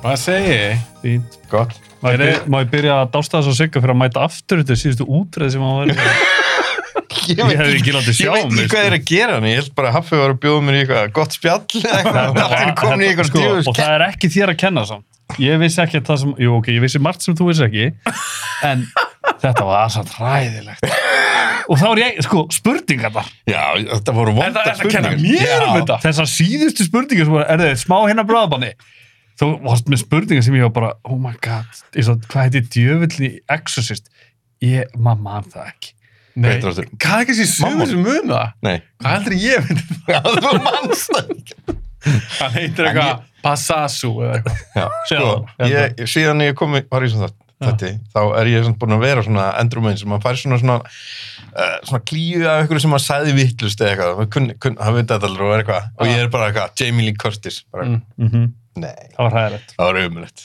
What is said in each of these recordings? Hvað segi ég? Fínt. Gott. Má ég Heyrðu, byrja- Má ég byrja að dásta þess að sigga fyrir að mæta aftur þetta síðustu útreið sem hann var í? Ég, Ég hefði ekki látið sjá Ég veit mig, ekki sko. hvað þeir eru að gera hann. Ég held bara að Haffi var að bjóða mér í eitthvað gott spjall eða eitthvað. Það er komin í Þetta- eitthvað sko, djúfus. og það er ekki þér að kenna samt ég vissi ekki það sem, jú ok, ég vissi margt sem þú vissi ekki en þetta var aðsamt hræðilegt og þá er ég, sko, spurningar þar Já, þetta voru Er það vonda er það að kenna mér um þetta? þessar síðustu spurningar sem voru, er þið smá hérna bráðabanni þú varst með spurningar sem ég var bara oh my god, ég svo, hvað heiti djöfullin í Exorcist ég, maður man það ekki Nei, Betur aftur. hvað er ekki þessi Mammon. sögur sem muna það? Nei. Hvað heldur ég myndi? Já, þú mannst það ekki. Hann heitir En eitthvað Passasu eða eitthvað. Já, sko, Já, ég, síðan ég kom í, var í svona þátt, þetta, þá er ég samt búin að vera svona endrúmein sem maður fær svona svona, uh, svona klíu af einhverju sem maður sagði vittlust eða eitthvað, maður kunni- kunni- hann veit þetta alveg og er eitthvað, og ég er bara eitthvað, Jamie Lee Curtis, bara, Mm. Mhm, nei, það var hræðilegt það var umulett,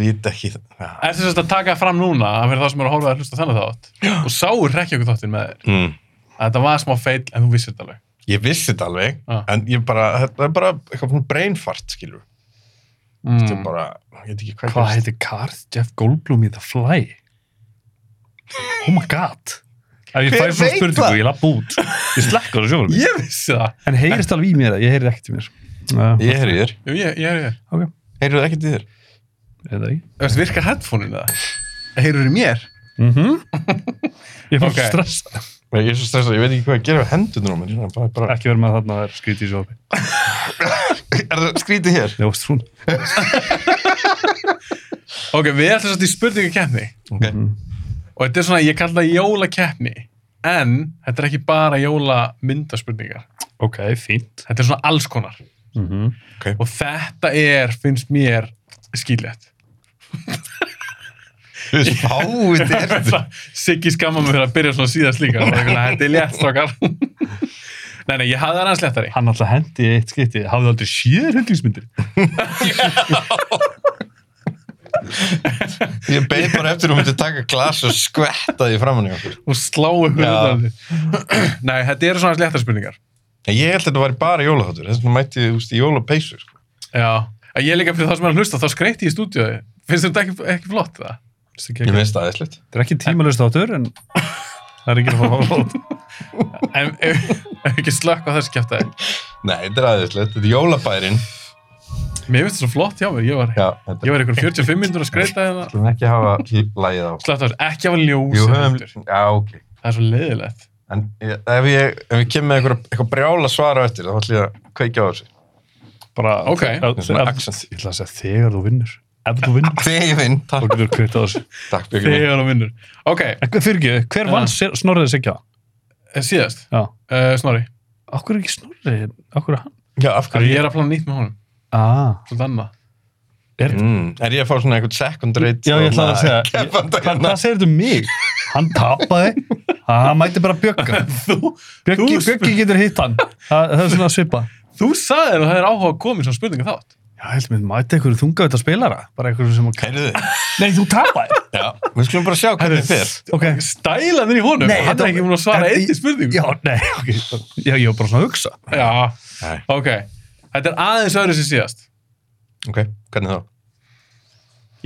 vita ekki það. Já. Er þess að taka fram núna, að fyrir það sem eru að horfa að hlusta þennan þátt og sáu rekja ykkur þáttinn með þér. Mm. Að Þetta var smá feil en þú vissir þetta alveg. Ég vissi þetta alveg, Ah. en ég bara, þetta er bara eitthvað svona brainfart, skilur, þetta er mm. bara, ég veit ekki hvað hvað gerist. heiti Garth Jeff Goldblum í The Fly oh my god ef ég Hver fæ svona veit spurningu, það? ég lapp út ég slekka það sjóðum Ég vissi það. en heyrist alveg í mér, ég heyri ekkert í mér uh, Ég heyri þér, Jú, ég, ég er ég. heyrðu það ekki til þér? eða ekki Erst virka headphone-in það? Heyrur í mér? mm ég fór Ok. okay. stressa Nei, Ég er svo stressað, ég veit ekki hvað að gera við hendunum á mér, ég er bara, bara, ekki verið með þarna að það er skrítið í sjófi er það skrítið hér? það var strún Ok, við ætlum svolítið í spurningakeppni Ok. og þetta er svona, ég kalla það jólakeppni en þetta er ekki bara jólamyndaspurningar ok, fínt þetta er svona alls konar mm og þetta er, finnst mér skýrlegt. Þú spáið þér Siggi skamma mig fyrir að byrja svona síðast líka og þetta er létt strókar Nei, nei, ég hafði það aðeins léttari hann alltaf hendi í eitt skipti hafði aldrei séð hryllingsmyndir Ég beið bara eftir að hún myndi taka glas og skvetta því framann í okkur og sláu hurðan Nei, þetta eru svona aðeins léttari spurningar En Ég held að þetta væri bara jólaháttur Þess vegna mætti ég úst í jólapeysu sko. Já, að ég líka fyrir það sem er að hlusta þá skreyti ég í stúdíói Finnst þér þetta ekki, ekki flott það? Ég þetta minnst það aðeinslegt er ekki tímalust áttur en það er ekki að fá að fá En ef ef ekki slökk á þessu kjæftæði Nei, þetta er aðeinslegt, þetta er jólabærin Mér finnst þetta svo flott hjá mér, ég var, Já, þetta ég var ykkur 45 minnur að skreita hérna. Þú ekki að hafa lagið á Slætt á þessu, ekki að vera ljós. Jú, hérna höfum undir. Já, ok Það er svo leiðilegt. En ég, ef, ég, ef ég kem með einhver, eitthvað brjála svara á eftir þá ætlum ég að kveikja á þessu bara Ok. Ef- Svona ef- accent. ég ætla að segja þegar þú vinnur ef þú vinnur Þegar ég vinn, þá takk, getur þú kvitt á þessu takk Björgur minn. Þegar hún vinnur. Ok, En hver- fyrirgefðu, hver vann sér- snorriði Sigga? eh, síðast, já uh, Snorri. okkur er ekki snorriði okkur er hann Já, af Þannig hverju ég er að plana nýtt með honum. ah. Svolítið annað. mm, Er ég að fá svona einhvern second rate Já, ég ætlaði að segja- Hva, segja hvað segir þetta um mig? Hann tapaði, hann hann mætti bara bjögga Þú, Bjöggi, Þú- bjöggi getur hitt hann það, það er svona að svipa þú sagði þér að það er áhuga að koma í svona spurninga þátt. Já, ég held mér, mætti einhverju þunga þetta spilara bara einhverju sem að... Heyrðu þið Nei, þú tapaði Já, við skulum bara sjá hvernig þér Ok Stælan er í honum. Nei, hann þetta- er ekki múin að svara þetta- eitt í spurningu. Já, nei, ok Já, ég var bara svona að hugsa Já. Nei. Ok, þetta er aðeins öðru sem síðast. Ok, hvernig þá?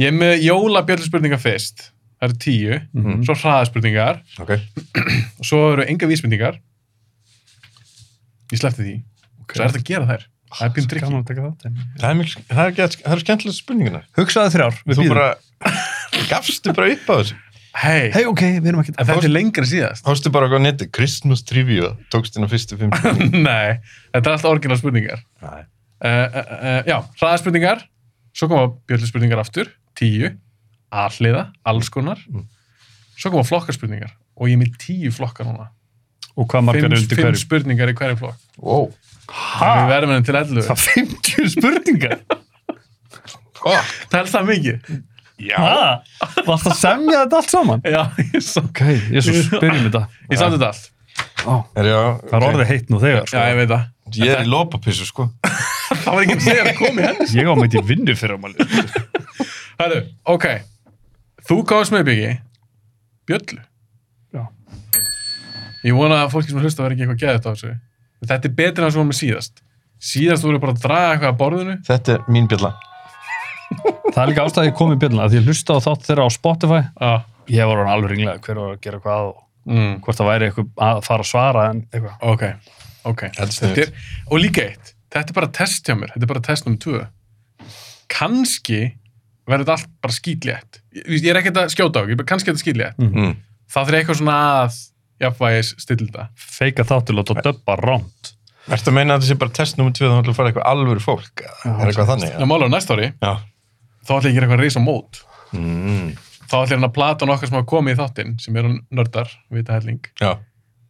Ég er með jólabjöllu spurninga fyrst. Það eru tíu. Mhm. Svo hraðaspurningar. Ok, og svo eru enga vísmyndingar ég sleppti því svo er þetta að gera þær það er pín trikki Ah, Gaman að taka þátt hérna. en- það, er mjög, það, er get, það eru skemmtilega spurningunar. Hugsaðu þrjár, við Þú býðum bara gafstu bara upp á þessu. hei, Hei, ok, við erum ekkert en þetta er lengra en síðast Hóstu bara eitthvað á neti, Christmas trivia, tókst inn á fyrstu fimm spurningu. nei, þetta er alltaf orginal spurningar Nei. uh, uh, uh, já, hraðaspurningar svo koma bjöllu spurningar aftur tíu, alliða, alls konar svo koma flokkarspurningar og ég er með tíu flokkar núna Og hvað margar fimm, er undir fimm hverju? spurningar í hverju flokk Wow. við Hæ? verðum henni til 11 Það 50 spurningar? Oh, það er það mikið já. Hæ? Varst að semja þetta allt saman? já, ég sá Ok, ég svo spyrjum þetta ég samt þetta allt Ó, Er, já okay. Það er orðið heitt nú þegar sko. já, ég veit það Ég er í lópapissu, sko. það var ekki að segja að koma í henni Ég á mæti vinnu fyrir að máli Herru, ok Þú gáðast með byggi Bjöllu Já. Ég vona að fólki sem hlusta verði ekki eitthvað geðið á þessu Þetta er betur en það sem var með síðast Síðast voru bara að draga eitthvað að borðinu Þetta er mín bjalla. það er líka ástæði að koma í bjölluna því ég hlusta á þátt þeirra á Spotify Já. ég var hann alveg ringlega hver var að gera hvað og Mm. hvort það væri eitthvað að fara að svara en eitthvað Ok, ok. Þetta er sniðugt. Þetta er, og líka eitt, þetta er bara test hjá mér, þetta er bara test nummer tvö. Kanski verður þetta allt bara skýtlétt. Ég, þú veist, ég er ekkert að skjóta á ekki, kannski er þetta skýtlétt. Mm. Það þarf eitthvað svona að jafnvægis stillita. feika þáttil og döbba rámt Ertu að meina að þetta sé bara test nummer 2 þá ætlum við að fara eitthvað alvöru fólk? eða er eitthvað þannig? Já, mála á næsta ári, Já. þá ætla ég að gera eitthvað reysa mót. Mm. Þá ætla ég hann að plata nokkar sem hafa komið í þáttinn, sem eru nördar, vita helling, Já.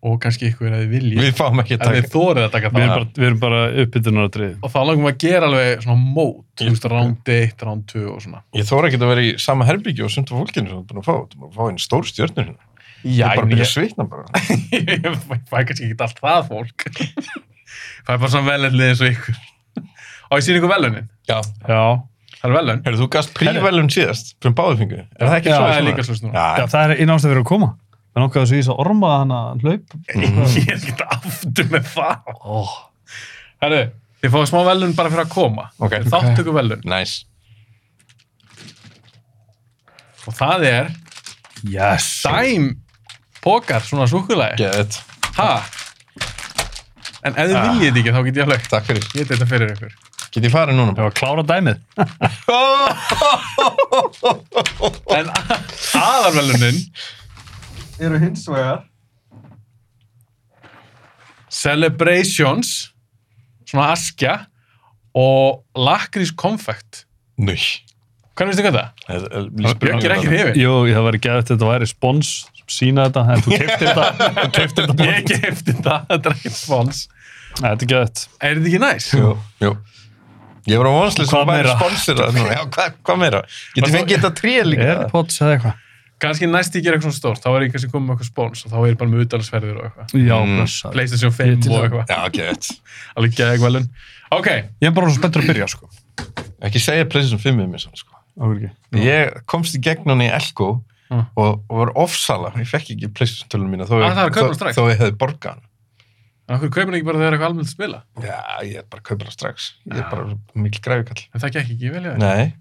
og kannski eitthvað að þið vilji. Við fáum ekki að En þið taka. þórið að taka við erum það. bara, við erum bara uppbytunar að drið Og þá langum við að gera alveg svona mót, þú Ég- veist, round 1, round 2 og svona. Ég þóra ekki að vera í sama herbyggju og sumt af fólkinu sem þú ert búin að fá. Þú búin að fá einn stór stjörnur hérna. Ég Já, er bara að byrja að svitna bara. ég ég fæ fæ kannski ekki allt það fólk fæ bara svona velhætlið eins og ykkur og ég sýn ykkur velunin Já. já, það er velun Herru, þú gast prífælum síðast sem báði fengu. Er það ekki Já, svo? það er líka slúst núna já, Já, það er einn ástæð fyrir að koma við nokkaðu svo í þess að orma hana hlaup ég er ekki aftur með það oh. herru, þið fáið smá velun bara fyrir að koma Ok. okay. þátt ykkur velun næs. og það er yes dæm pokar svona súkulagi Geðið. ha en ef þið viljið þetta ekki þá get ég alveg Takk fyrir. get þetta fyrir ykkur Get ég farið núna? ég var að klára dæmið en aðarvelunin eru hins vegar Celebrations svona askja og lakrís konfekt Nei. hvernig veistu hvað það? Björk er ekki hrifin jú, það væri geðið þetta væri spons sína þetta, en þú keftir þetta þú keftir þetta ég kefti það, þetta er ekki spons Nei, þetta er geðið er þetta ekki næs? Jú, jú. Ég var á vonslega sem Hvað væri meira? sponsorað núna. Já, hvað, hvað meira? Get Var ég þú- fengið þetta tré líka? Airpods eða eitthvað kannski næst ég gera eitthvað svona stórt þá er ég kannski komið með eitthvað spons og þá er ég bara með utalansferðir og eitthvað já, Mm. blessað Playstation Ég 5 til og það. eitthvað Já, geðið. alveg geða eitthvað velun ok, ég er bara svo spenntur að byrja sko Ekki segja Playstation 5 við mér sann, sko. okkur ekki Ég komst í gegn hún í Elko Mm. og, og var ofsala. Ég fekk ekki Playstation tölum mína þó, Ah, ég- það var að kaupa þó, strax. þó ég hefði borgað hann. en okkur kaupin ekki bara þegar eitthvað almennt spila Já, ég er bara að kaupa hann strax. Ég er bara mikil græfikall. en það gekk ekki vel ég Nei,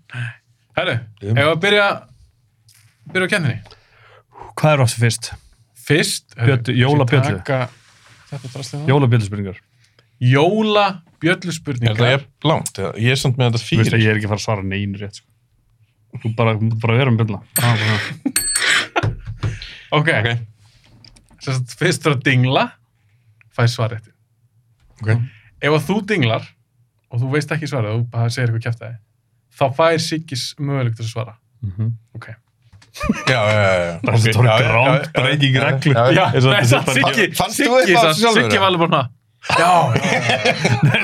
herru, Jú. ef að byrja byrja á kenninni hvað er áttu fyrst? fyrst, Bjöllu- jólabjöllu. jólabjöllu jólabjöldspurningar jólabjöllu er það spurningar er langt. eða? Ég er samt með þetta þú veist fyrir. að ég er ekki að fara að svara neinu rétt sko. þú bara, þú bara vera um bjöldna Ok, Ok, okay. Sest, fyrst þú að dingla, fæ svarrétti. ok. Ef að þú dinglar og þú veist ekki svarið, þú bara segir eitthvað kjæftæði, þá fær Siggis mögulegt að svara. Mhm. Ok. Já, já, já, já. það er Ok, þetta voru já, já, já, gránt breyking já, já, reglu já, já. Eins og þetta sé bara- Siggi, Fannst þú Siggi, eitthvað af sa- þessu sjálfur, Siggi eða? var alveg bara hana. Já,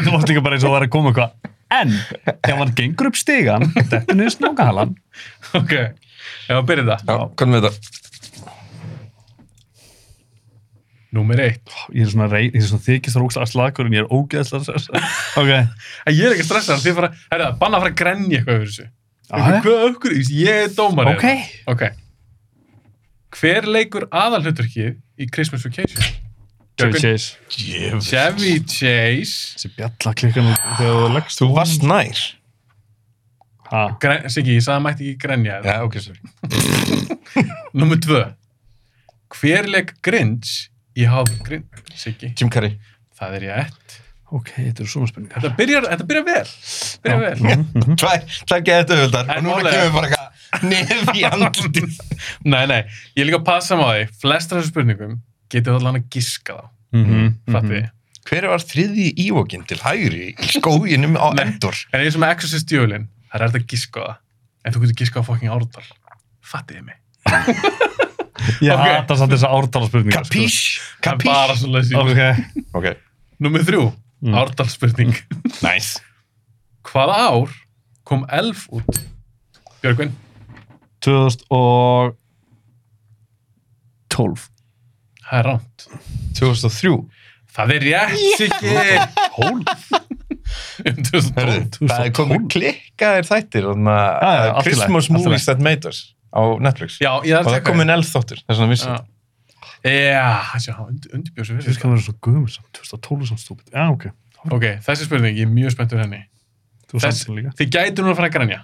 Þú varst líka bara eins og það var að koma eitthvað. En, ef hann gengur upp stigan, dettur niður snákahalan. ok. Ef að byrja það. Já, hvernig við þetta? Númer eitt. Ég er svona reyn, ég er svona þykist og ógæðslega slagur en ég er ógæðslega slagur. Ok. En ég er ekki stressað, þið fara, herra, banna að fara að grenja eitthvað yfir þessu. Aha. Eitthvað, Hvað okkur, ég er dómar. Ok. Ok. Hver leikur aðalhutverkið í Christmas Vacation? Chase, chase. Jöfn. Chevy Chase. Þessi bjalla klikkan og þegar þú leggst. Þú varst nær. Ha. Gren, Siggi, ég sagði að mætti ekki grenja þetta. Já, ok, sorry. Númer tvö. Hver leik Grinch í hálf Grinch? Siggi, Jim Carrey. það er rétt. Ok, þetta eru svona spurningar. Mhm, Þetta byrjar, þetta byrjar vel. Byrjar vel. Tvær, tvær geðið þetta höldar. Og En núna málega- kemur bara eitthvað nef í andlitið. Nei, nei, ég er líka að passa mig á því. Flestra þessu spurningum getur það allan að giska þá. Mhm, Mhm, Fattu þið? Hver var þriði ívokinn til hægri í skóginum á Nei. Endor? En eins og með Exorcist Jölin, það er þetta að giska á það. En þú getur giska á fucking árdal. Fattu þið mig? Ég Ok. hata samt þessa ártala spurningar. Kapís? Það er bara Kapís? svo leysið. Ok. Ok, Númer þrjú, Mm. árdalspurning. næs. Hvaða ár kom elf út? Björgvin? 2012. Það er rámt. 2003. Það er rétt, Siggi! Hólf? Um 2012. Herðu, það er 2012. komið klikkaðir þættir, þannig Já, já, að allt í Christmas lagi, allt í Movies That Made Us á Netflix. Já, ég Og þarf að það taka komið Nelf þáttur, þess vegna vissi Já, ég. Já, sjá, hann und, undirbjóð sér Ég veist fyrir. hvað það verður svo gömur samt. 2012 er samt stúpid. Já, ok. Ok, þessi spurning, ég er mjög spennt fyrir henni. Þú Þess- samt líka. Þið gætu núna að fara að grænja.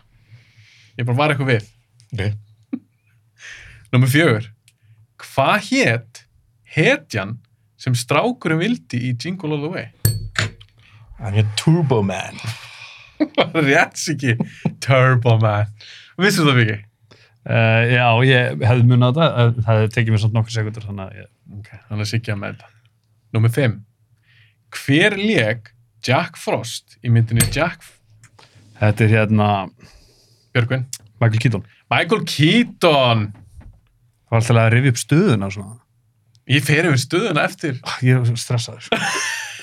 Ég bara var eitthvað við. Ok. Númer fjögur. Hvað hétt hetjan sem strákurinn vildi í Jingle All The Way? Hann er Turbo Man. Það er rétt siki. Turbo Man. Vissu það ekki? Uh, já, ég hefði munið á þetta, en það hefði tekið mér samt nokkur sekundur, þannig að ég... Ok, hann er sikið með þetta. Númer fimm. Hver leg Jack Frost í myndinni Jack Þetta er hérna Björgvin? Michael Keaton. Michael Keaton. Það var alltaf að rifja upp stöðuna og svona. Ég fer yfir stöðuna eftir Ah, Ég er stressaður. sko.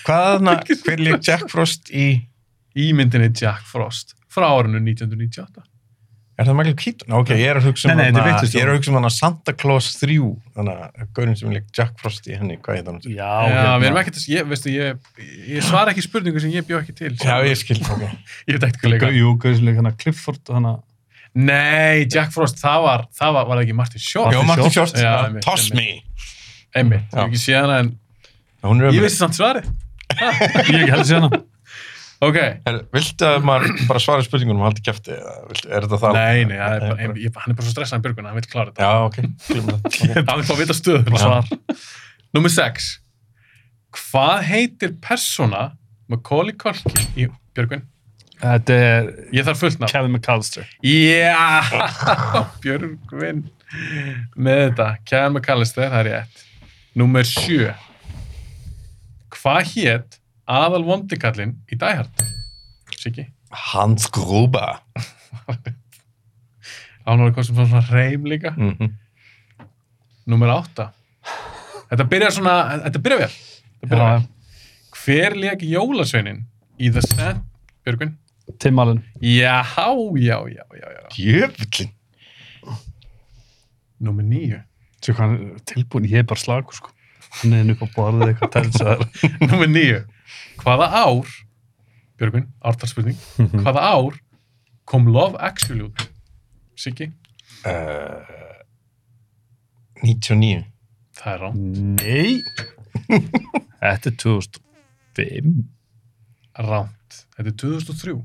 Hvaðna, hver lík Jack Frost í... í myndinni Jack Frost frá árinu 1998. Er það Michael Keaton? Ok, ég er að hugsa um Nei, nei, þetta er hana- vitlaust, ég er að hugsa um hana Santa Claus 3, þannig að gaurin sem lík Jack Frost í henni, hvað heit hann? Já, Já, hérna. við erum ekkert að, ég, veistu, ég, ég svara ekki spurningu sem ég bjó ekki til. Já, ég skil, ok. Ég veit ekkert hvað leika. Jú, gauðslega hérna Clifford og hérna... Nei, Jack Frost, það var, það var, var það ekki Martin Short. Jó, Martin Short, Short. Já, einmitt, Toss Me. Einmitt, ég Já. hef ekki séð hana en Hún er ég ömurleg. vissi samt svarið. Ég ekki heldur síðan Ok, Er, viltu að maður bara svara spurningunum og haldi kæfti? Er þetta það? nei, nei, það er bara, ein, ég, hann er bara svo stressað um björguna, hann vil klára þetta. Já, ok. Gleymi það. okay. Hann vil fá að vita stöðum. svar. Númer 6. Hvað heitir persóna Macaulay Culkin í Björgvin? Þetta er Ég þarf fullt nafn. Kevin McAllister. Já, Björgvin með þetta, Kevin McAllister, það er rétt. Númer 7. Hvað hétt aðal vondikallin í Die Hard? Siggi? Hans Gruba. Ánóri kom sem svona reym líka. Mm Númer 8. Þetta byrjar svona, þetta byrjar vel. Þetta byrjar Já, vel. Hver leik jólasveinin í The Sand, Björgvin? Tim Allen. Já, já, já, já, já. Jöfullin. Númer 9. Svo hvað hann er tilbúin, ég er bara slagur sko. Hann er henni upp á borðið eitthvað telsaður. Númer 9. Hvaða ár, Björgvin, ártalspurning, hvaða ár kom Love Actually út? Siggi, Uh, 99. það er rán. Nei. Þetta er 2005. Ránt. Þetta er 2003.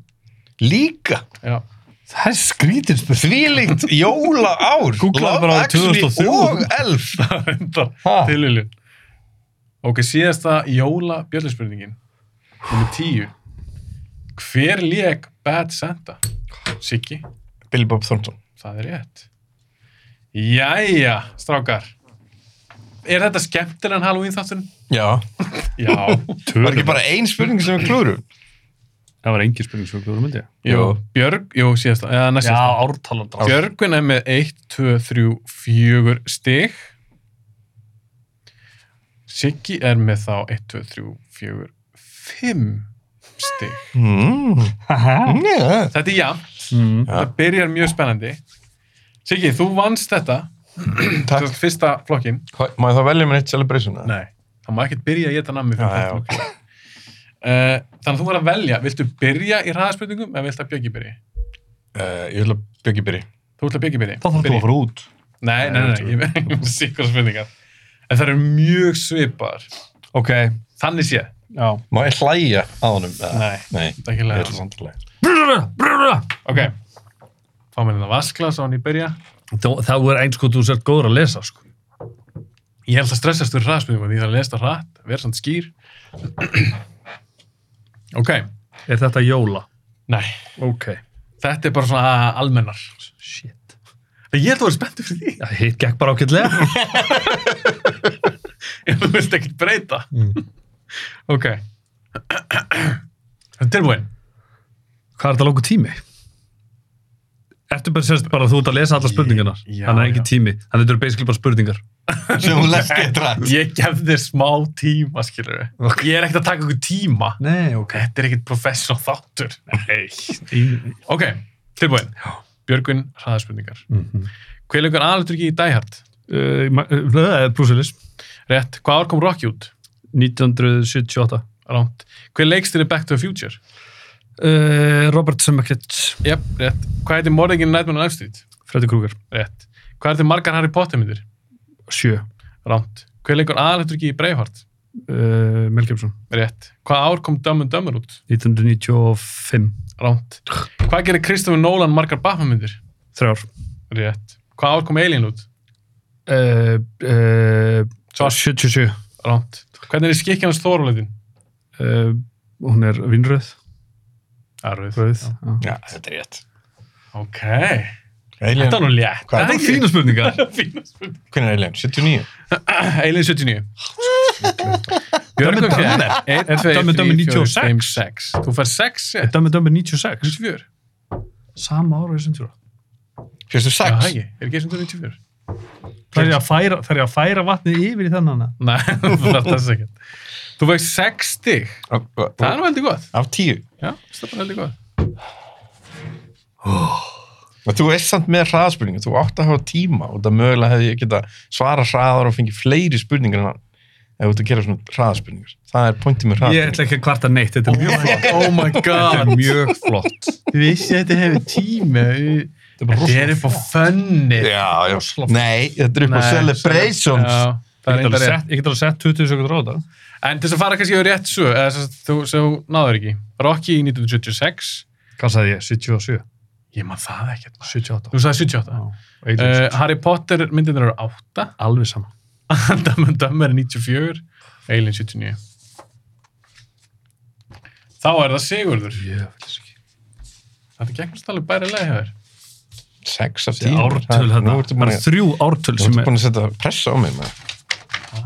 Líka. Já. Það er skrítið spurning. Þvílíkt jóla ár. Googlaðu bara á 2003. og elf. Reyndar Ha. tililin. Ok, síðasta jóla björnspurningin. Númer 10. Hver lék Bad Santa? Siggi, Billy Bob Thornton. það er rétt. Jæja, strákar. Er þetta skemmtilega en Halloween þátturinn? Já. Já. Var ekki bara ein spurning sem við klúrum? Það var engin spurning sem við glúðum myndi. Jú, Björg, jú, síðasta, eða næst Já, síðasta. ártalan. Björgvin er með 1, 2, 3, 4 stig. Siggi er með þá 1, 2, 3, 4, 5 stig. Mm. Haha. Yeah. Þetta er jafn, Mm. það byrjar mjög spennandi. Siggi, þú vannst þetta, Takk. þetta er fyrsta flokkin. Hvað- Má ég þá velja mér eitt celebration? eða? Nei. Það má ekkert byrja að geta nammi fyrir Já, já, þetta flokkin. Uh, þannig að þú var að velja, viltu byrja í ræðaspurningum eða viltu að Björgi byrja? Uh, ég vil að byggja byrji. Þú vilt að Björgi byrja? Þá þarf þú að fara út. Nei, nei, nei, ég verði ekki með sikkur spurningar. En það eru mjög svipaðar. Ok, Þannig sé, já. Má ég hlæja á honum? eða? Nei. Nei. þetta er ekki Ég ætla lega. samt að hlæja. Brrra, brrra. Ok, fá mér hérna þetta vaskla svo hann ég byrja. Það er eins hvað þú sért góður að lesa sko. Ég held að stressast fyrir hraðspurningum, ég þarf að lesa það hratt, vera samt skýr. ok, Er þetta jóla? nei, Ok. þetta er bara svona almennar. Shit. En Ég held að vera spenntur fyrir því. Já, hitt gekk bara ákveldlega. Ég vilt ekkert breyta. Mm. ok. Tilbúin. Hvað er þetta langur tími? Ertu bara, sérst, bara þú ert að lesa alla spurningarnar? Já, Þannig er ekki já. tími. Þannig þetta eru basically bara spurningar. sem hún lest eitt rætt Ég gef þér smá tíma, skilur við. Ég er ekkert að taka ykkur tíma. Nei, ok. Þetta er ekkert professional þáttur. Nei. Ok, tilbúin. Björgun, hraðaspurningar. Mhm. Hver leikur aðalutryggi í Die Hard? Uh, Bruce Willis. Rétt. Hvað ár kom Rocky út? 1978. Ránt. Hver leikstýri Back to the Future? Uh, Robert Zemeckis. Jep, rétt. Hvað heitir morðingin í Nightmare on Elm Street? Freddy Krueger. Rétt. Hvað er þið margar Harry Potter myndir? Sjö. Ránt. Hver leikur aðalutryggi í Braveheart? Uh, Mel Gibson. Rétt. Hvað ár kom Dumb and Dumber út? 1995. Ránt. Hvað gerir Kristoffer Nolan margar Batman myndir? Þrjár. Rétt. Hvað ár kom Alien út? Uh, uh, 77. Ránt. Hvernig er skikki hans Þorvaldin? Uh, hún er vinnröð. Arfið. Röð. Já, þetta er rétt. Ok. Alien, Þetta er nú létt. Hvað er það ekki? Fína spurningar. Þetta er fína spurning. hvernig er Alien? 79? Alien 79. Dömmi Björgvin Dömmi. fékk einn, tveir, Dömmi þrír, Dömmi fjórir, 96. fimm, sex. Þú fær 6 set. Dömmi Dömmi 96. 94. Sama ára þessum tjóra. Já, það 46? ekki. Er ekki 194? Það er ég að færa, það er ég að færa vatnið yfir í þennan. að. Nei, þú þarf þess ekki. Þú fæk 6 stig. Og- og- Það er nú heldur gott. Af 10? Já, það er bara heldur gott. Og þú veist samt með hraðspurningu, þú átt að hafa tíma og það mögulega hefði ég geta svara hraðar og fengið fleiri spurningar en hann ef þú ert að gera svona hraðspurningar. Það er pointið með Ég hraðspurningar. ætla ekki að kvarta neitt, þetta er mjög flott. Oh my Þetta god. er mjög flott. Þú vissi að þetta hefur tími. Þetta er upp á fönni. Já, já. Nei, þetta er upp á Nei, celebrations. Já, það Ég get er enda alveg rétt. sett- ég get alveg sett 20 sekundar á þetta. En til þess að fara kannski yfir rétt svo, eða sem sagt, þú, sem þú náður ekki. Rocky í 1976. Hvað sagði ég? 77? Ég maður það ekkert. maður. 78? Þú sagði 78. Alien Uh, 77. Harry Potter myndin eru 8. Alveg sama. Dumb and Dumber er 94. Alien 79. Þá er það Sigurður. Jöfnlis ekki. Þetta gegnast alveg bæri leið hefur. 6 af 10. Ártöl Nú hérna. ertu Það búin er að- þrjú ártöl þú sem ertu er... búin að setja pressa á mig. maður.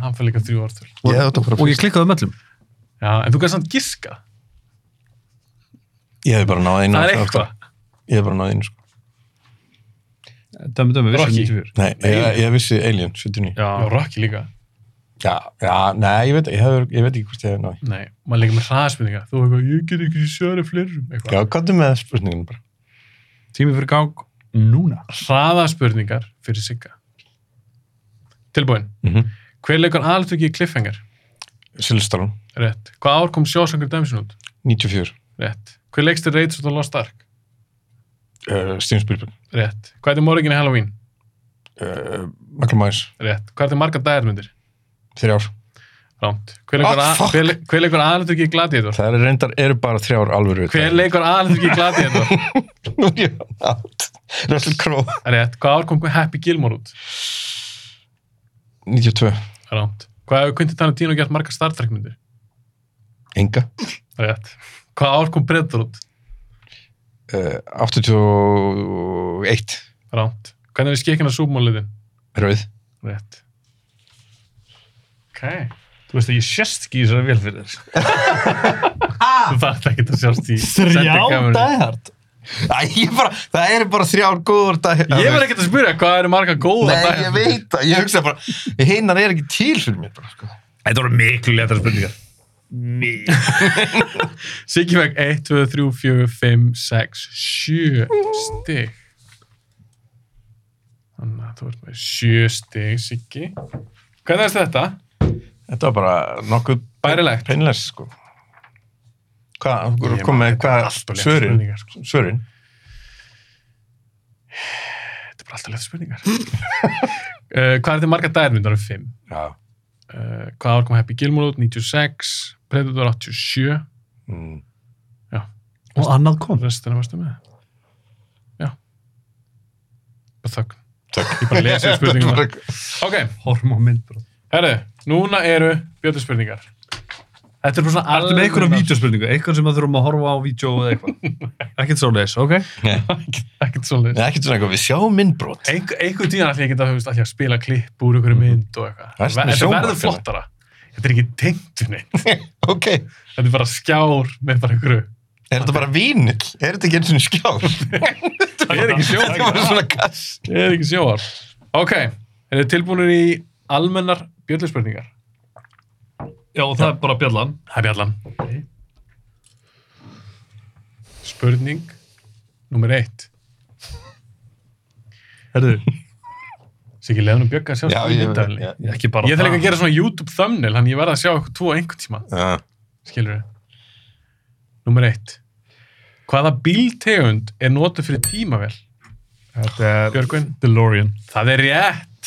Hann fyrir líka þrjú orður. Ég hefði átt að fara Og ég fyrst. klikkaði um öllum. Já, en þú kannast hann giska. Ég hefði bara náð einu. Það er af þáttum. eitthvað. Ég hefði bara náð einu, sko. Dömi, dömi, Rocky. vissi 94. Nei, ég, ég vissi Alien 79. Já, Já. Rocky líka. Já, já, nei, ég veit, ég hef, ég veit ekki hvort ég hefði náð. Nei, maður líka með hraðspilninga. Þú hefur eitthvað, ég get ekki sjöra flerum. Eitthvað. Já, gottum með spurningunum bara. Tími fyrir gang núna. hraðaspurningar fyrir Sigga. Tilbúin. Mm Hver leikur alveg í cliffhanger? Silvestalum, Rétt. Hvað ár kom sjásangur dæmsin út? 94. Rétt. Hver leikstir reyts út á Lost Ark? Uh, Steven Spielberg. Rétt. Hvað er morgin í Halloween? Uh, Michael Myers, Rétt. Hvað er margar dagarmyndir? þrjár. Rámt. Hver Ah, fuck. leikur oh, alveg í Gladiator? Það eru reyndar, eru bara þrjár alvöru. Hver leikur alveg í Gladiator? Nú er ég átt. Russell Crowe. Rétt. Hvað ár kom Happy Gilmore út? 92. Rámt. Hvað hefur Quentin Tarantino gert margar Star Trek myndir? Enga. Rétt. Hvað ár kom Predator út? Uh, 81. Rámt. Hvernig er skikkin að súbmáliðin? Rauð. Rétt. Ok. Þú veist að ég sérst ekki í þessari vel fyrir þér. Þú þarft ekki að sjást í sendikamerunni. dagart? Æ, ég bara, það eru bara þrjár góður dag. Ég verð ekki að spyrja hvað eru marga góða Nei, ég dagar. veit það. sko. Ég hugsa bara, hinnar er ekki til fyrir mér. Bara, sko. Þetta voru miklu letar spurningar. Mikið. Siggi fekk 1, 2, 3, 4, 5, 6, 7 stig Þannig að þú ert með 7 stig, Siggi Hvernig er þetta? Þetta var bara nokkuð Bærilegt peinlega, sko. Hvað, þú Ég kom með man, þetta er hvað, allt og létt svörin, spurningar, sko. svörin. Þetta er bara alltaf leita spurningar uh, Hvað er þetta marga dagar myndur um 5? Já. Uh, hvað ár kom Happy Gilmore út? 96 Predator 87 Mm. Og annað kom. Restina varstu með Já Bara þögn Takk. Ég bara lesi spurningum Þetta var- Ok, Horm og myndbrot. herru, núna eru bjöldspurningar. Þetta er bara svona Ertu með einhverja vídeospurningu? Eitthvað sem að þurfum að horfa á vídeo eða eitthvað? Ekkert svo leis, ok? Ekkert svolítið. Nei, ekkert svona eitthvað, við sjáum minnbrot. Einhver, einhver tíðan ætlum ég geta að, að spila klipp úr einhverju mynd og eitthvað. Ertu með Þetta sjónvarp, verður eða? flottara. Þetta er ekki tengt við neitt. ok, er Þetta er bara skjár með bara einhverju. þetta bara vínill? Er þetta ekki eins og skjár? Það er þetta ekki er sjóar. bara svona kass. Það er ekki sjóar. Ok, er þið tilbúinir í almennar bjöldspurningar? Já, og það er bara bjallan. Það er bjallan. Spurning nummer eitt. Herðu, Sikki, leiðan og bjögga að sjá Já, ég spurning veit myndaðalni. það. ekki bara Ég þarf ekki að gera svona YouTube thumbnail, hann ég verða að sjá eitthvað tvo einhvern tíma, Já. skilur þau. Númer eitt. Hvaða bíltegund er notuð fyrir tímavel? Þetta er Björgvin? DeLorean. Það er rétt.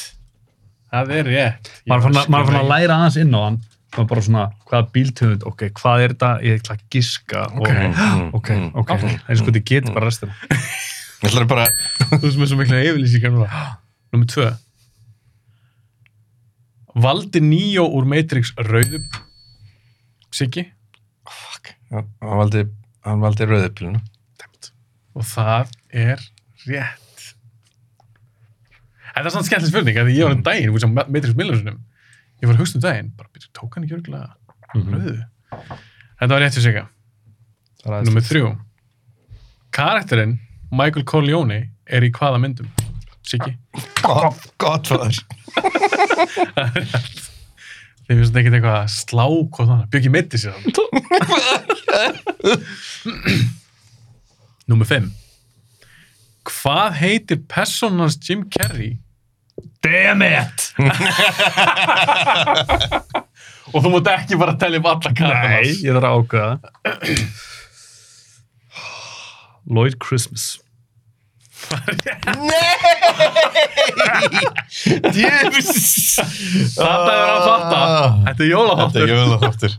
Það er rétt. Ég Maður er fann var að- maður er fann að skrifa í- læra aðeins inn á hann. Það er bara svona, hvaða bíltöfund, ok, hvað er þetta? Ég ætla að giska. Mm, Ok. Og, ok, ok. Það er sko, þið getur bara restina. Ég ætlar bara, Þú veist með svo mikla yfirlýsingar núna. Númer tvö. Valdi Neo úr Matrix rauðu Siggi fuck, hann hann valdi, hann valdi rauðupilinu. og það er rétt. Þetta er svona skemmtileg spurning af því ég var um daginn, þú veist á Matrix Millersunum ég var að hugsa um daginn, bara byrja, tók hann ekki örgulega rauðu. Þetta var rétt fyrir Sigga. Númer þrjú. Karakterinn Michael Corleone er í hvaða myndum? Siggi? God, Godfather. Þið finnst ekki eitthvað að slá hvort annað. Bjöggi meiti sér þannig. Númer 5. Hvað heitir personans Jim Carrey? Damn it! Og þú mátt ekki bara tellja um alla Nei, karakternas. ég þarf að ákveða Lloyd Christmas Jesus! Þetta er að fatta. Þetta er Ah. Þetta er jólaháttur. jólaháttur.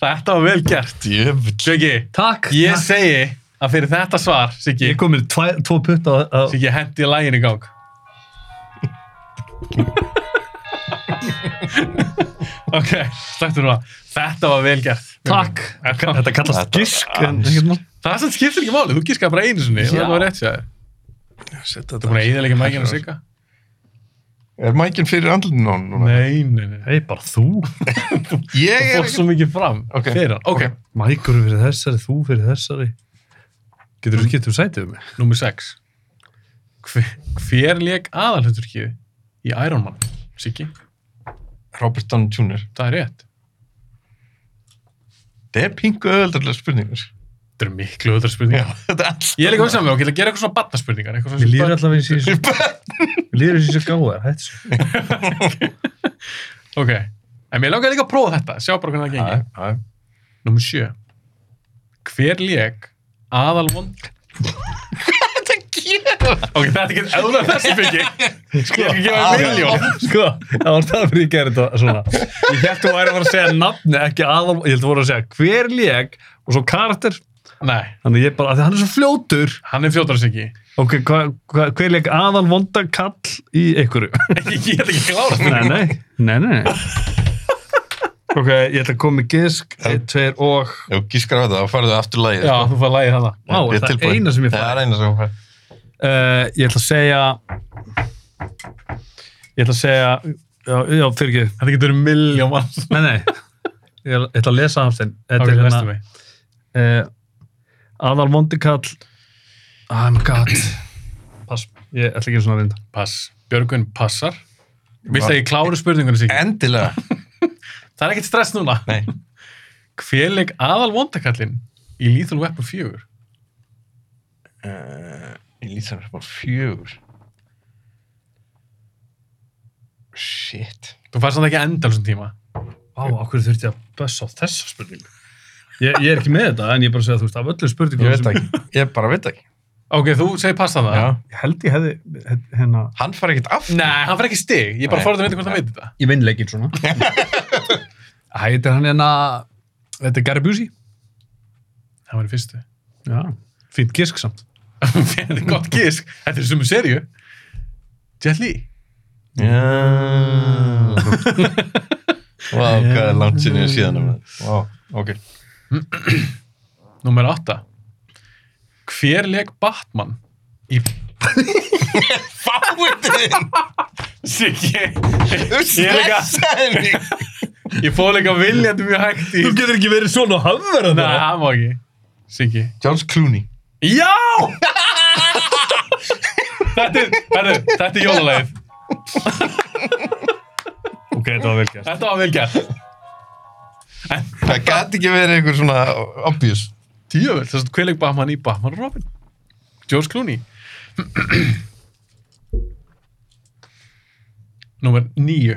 Þetta var vel gert. Djöfull. Bjöggi, Takk ég takk. segi að fyrir þetta svar, Siggi, Ég kom með tvæ, tvo putta á- á- Siggi hendi lægin í gang. ok, slagtu nú að. Þetta var vel gert. Takk Þetta var- Þetta kallast Þetta- gisk en ekkert mál. Það sem skiptir ekki máli, þú gískaði bara einu sinni. og Já. Þetta var rétt sér. Þetta Setta er búin að eða líka mækina sigga. Er mækinn fyrir andlunum hún núna? Nei, nei, nei. Hei, bara þú Ég Það er fór ekki... svo mikið fram Ok, fyrir hann. Ok, ok. Mækur fyrir þessari, þú fyrir þessari Getur þú skipt um sætið um mig? númer 6. Hver leik aðalhuturkið í Iron Man? Siggi, Robert Downey Jr. það er rétt. Þetta er pingu öðaldarlega spurningur. Þetta eru miklu öðra Já, spurningar. þetta er alls. Ég er líka að með, ok, ég ætla að gera eitthvað svona batnaspurningar. Mér líður alltaf eins og ég sé- Mér líður eins og ég sé gáðar, hættu svo Ok, en mér langar líka að prófa þetta, sjá bara hvernig það Já, gengir. já. Númer sjö. Hver lék aðal vond... Þetta gerur. Ok, þetta er ekki eðla þessu byggi. Ég er ekki að gefa Já, þér miljón. Sko, það var það fyrir ég gerði þetta svona. Ég held þú væri að fara að segja nafni, ekki aðal, ég held þú voru að segja hver leg og svo karakter. Nei, Þannig ég bara, af því hann er svo fljótur. hann er fjóttar sig ekki. Ok, hva, hva, hver leg aðal vonda kall í einhverju? Ég get ekki klára þetta. nei, nei, nei, nei. Ok, ég ætla að koma með gisk, einn, tveir og... Ef þú gískar á þetta, þá farðu aftur lægið. Já, þú fær lægið hana. Vá, er það eina sem ég fæ? Það er eina sem ég fæ. Uh, ég ætla að segja... Ég ætla að segja... Já, já fyrir ekki. Þetta getur miljón manns. Nei, nei. Ég ætla að lesa hans þeim. Ok, næstu mig. uh, aðal vondikall oh my god pass, ég ætla ekki svona að vinda Pass. Björgun passar. Vilst að ég kláru spurningunni sig? Endilega. Það er ekkert stress núna. Nei. Hver leik aðal vondakallin í Lethal Weapon 4? Uh, ég lýt það bara fjögur. Shit. Þú fær samt ekki endalsum tíma. á, á hverju þurfti ég að bössa á þessa spurningu ég, ég er ekki með þetta en ég er bara að segja þú veist af öllum spurningum Ég veit það ekki. Ég bara veit það ekki. Ok, þú segir passa það. ég held ég hefði hérna Hann far ekkert aftur. Nei, hann fær ekki stig. Ég er bara Nei. forðið að vita hvort hann veit þetta. ég vinn leikinn svona Æ, þetta er hann hérna þetta er Gary Busey Það var í fyrstu. já fínt gisk samt Þetta er gott gisk. Þetta er sumu serju. Jet Li. Já. Vá, hvað er langt sinni síðan um það. Vá, ok. Númer 8. Hver leik Batman í... Fáiðin! Siggi. Ég er líka... Stressaði mig! Ég fóð líka viljandi mjög hægt í... getur ekki verið svona hafverð Nei, það má ekki. Siggi. Charles Clooney. Já! þetta er, herru, þetta er jólulegið. ok, þetta var vel gert Þetta var vel gert. Það gæti ekki verið einhver svona obvious. Djöfell, þess að hver leik Batman í Batman og Robin? George Clooney. Númer 9.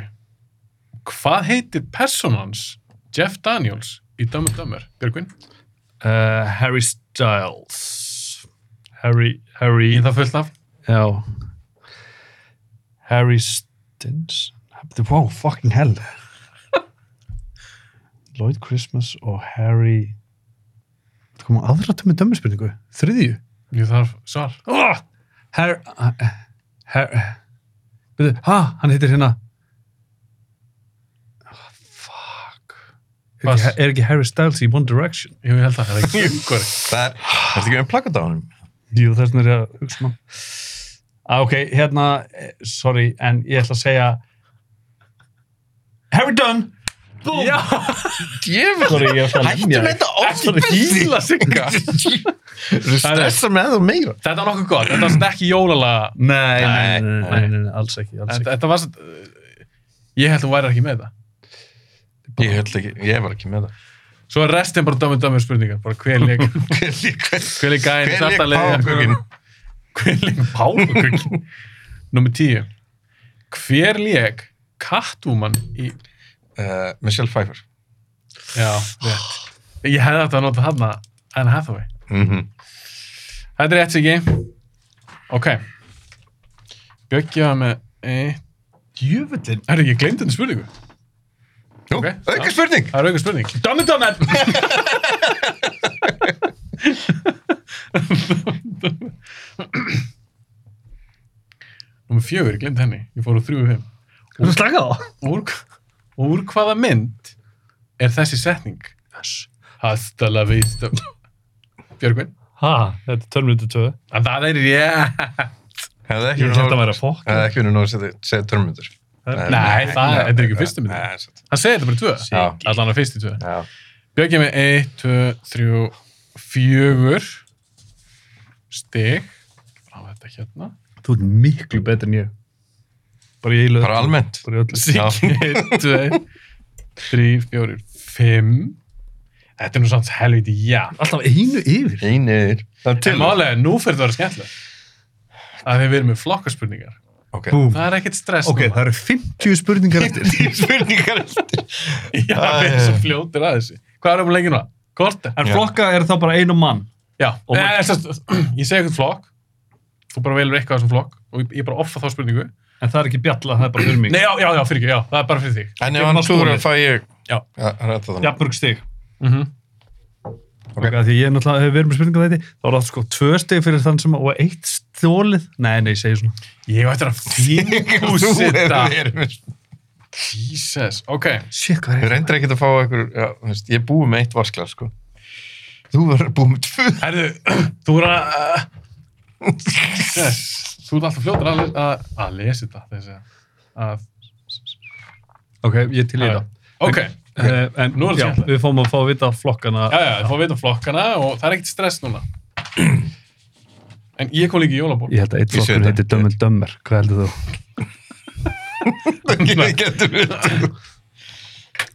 Hvað heitir personans Jeff Daniels í Dumb and Dumber? Björgvin? uh, Harry Styles Harry, Harry Í það fullt af? Já Harry Stins Wow, fucking hell Lloyd Christmas og Harry Það kom aðra tömmu dömmu spurningu Þriðju Ég þarf svar. oh! Her... Her... Byrðu, ha, hann heitir hérna... Ah, Fuck. Er Bass. ekki, er ekki Harry Styles í One Direction? Jú, ég held að það er ekki umhverju. Það er, það er ekki um plakkat á honum. Jú, þess vegna er ég að hugsa mann. Ah, ok, hérna, eh, sorry, en ég ætla að segja... Harry Dunn! Búm! Já, Djöfn, Sorry, ég ætla að hættu með þetta oft í bíl. hýla sigga. Þú stressa með þú meira. Þetta var nokkuð gott, þetta var svona ekki jólalaga. Nei, Nei, nei, nei, nei. nei, nei, nei, alls ekki, alls En ekki. Þetta var svona, ég held að hún væri ekki með þetta. Ég held ekki, ég var ekki með það. Svo er restin bara dömur dömur spurningar, bara hver leik, Hver lík, hver lík, hver leik gæðin, hver lík páfuguginn? Hver leik páfugugin? Númer tíu. Hver leik Catwoman í... Eh, Michelle Pfeiffer. Já, rétt. Ég hefði átt að nota þarna, en Hathaway. Mhm. Þetta er rétt Siggi. Ok. Bjöggi var með eitt. Jöfullin. Er ég gleymd þetta spurningu? Nú, Ok, auka já. spurning. Það er auðvitað spurning. Dömmu dömmen! Númer fjögur, ég glemt henni. Ég fór úr þrjú og fimm. Þú slakað á? Úr, úr hvaða mynd er þessi setning? Yes. Hasta la vista. Björgvin? Ha, þetta er törmyndu tvö. En það er rétt. Hefði ekki Ég verið held að nóg- vera fokk. hefði ekki verið nóg að segja- segja törmundur. Nei, það er, þetta er ekki fyrstu Nei, myndin. satt. Hann segir þetta bara í tvö. Já. Allan að fyrstu tvö. Já. Björgi með 1, 2, 3, 4 stig frá þetta hérna Þú ert miklu betur en ég. Bara ég í lög. Bara almennt. Bara í öllu. Já. Siggi 1, 2, 3, 4, 5 Þetta er nú samt helviti já Alltaf einu yfir. Einir. Það er Til málega, nú fyrir það að vera skemmtilega að þið verðum með flokkaspurningar Ok. Búm. Það er ekkert stress Ok, það eru 50 spurningar eftir. Spurningar eftir. núna Já, við erum svo fljótir að þessu Hvað erum við lengi núna? Korti? En Já. flokka er það bara einu mann. Já, Og- Nei, sem sagt, Eh, ég segi eitthvað flokk þú bara velur eitthvað af þessum flokk og ég- ég bara offa þá spurningu En það er ekki bjalla, það er bara fyrir mig. Nei, já, já, já, fyrir ekki, já, það er bara fyrir þig En ef Gerum hann að klúður skoða. að fæ ég... Já. Ræta þannig. Jafnmörg stig. mm Ok. Okay. Því ég náttúrulega hef verið með spurningar þetta. Þá er það sko tvö stig fyrir þann sem og eitt stólið. Nei, nei, ég segi svona. Ég var eftir að fíngúsita. Þú Jesus, ok. Shit, hvað er reyndir ekkert að fá eitthvað, já, þú veist, ég er búið með eitt vasklar, sko. Þú verður búið með tvö. Herðu, þú er að... eh, Jesus, þú er alltaf fljótur að, le- að, að lesa þetta, þessi. Að, Ok, ég til í að, það. ok, Eh, En Nú er það já, skemmtilegt. við fáum að fá að vita flokkana. já, já, þú fór að vita um flokkana og það er ekkert stress núna. En ég kom líka í jólaból. Ég held að eitt Ég sé flokkur þetta. heitir Dömmel Dömmer. Hvað heldur þú? Ég getur verið.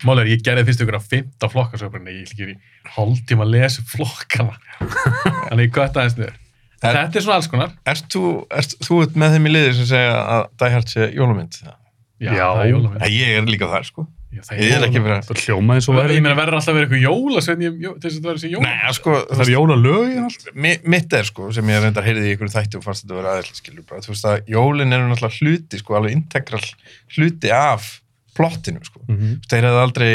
Mál er, ég gerði fyrst ykkur að fymta flokkasöfrinni, ég líka í hálftíma að lesa upp flokkana. Þannig ég gött aðeins niður. Er- Þetta er svona alls konar. Ert þú, ert, þú ert með þeim í liði sem segja að Die Hard sé jólamynd? Já, Já. það er jólamynd. Nei, Ég er líka þar, sko. Já, það Ég er ekki verið að... Það hljómaði svo Svo verið. ég meina verður alltaf að vera eitthvað jólasveinn í- jó- til þess að það verður þessi jóla. Nei, sko, þú Það er jólalög í allt. Mi- mitt er sko, sem ég reyndar heyrði í ykkur þætti og fannst þetta að vera aðeins skilur bara, þú veist að jólin eru náttúrulega hluti sko, alveg integral hluti af plottinu sko, mm. Mhm. þeir hefði aldrei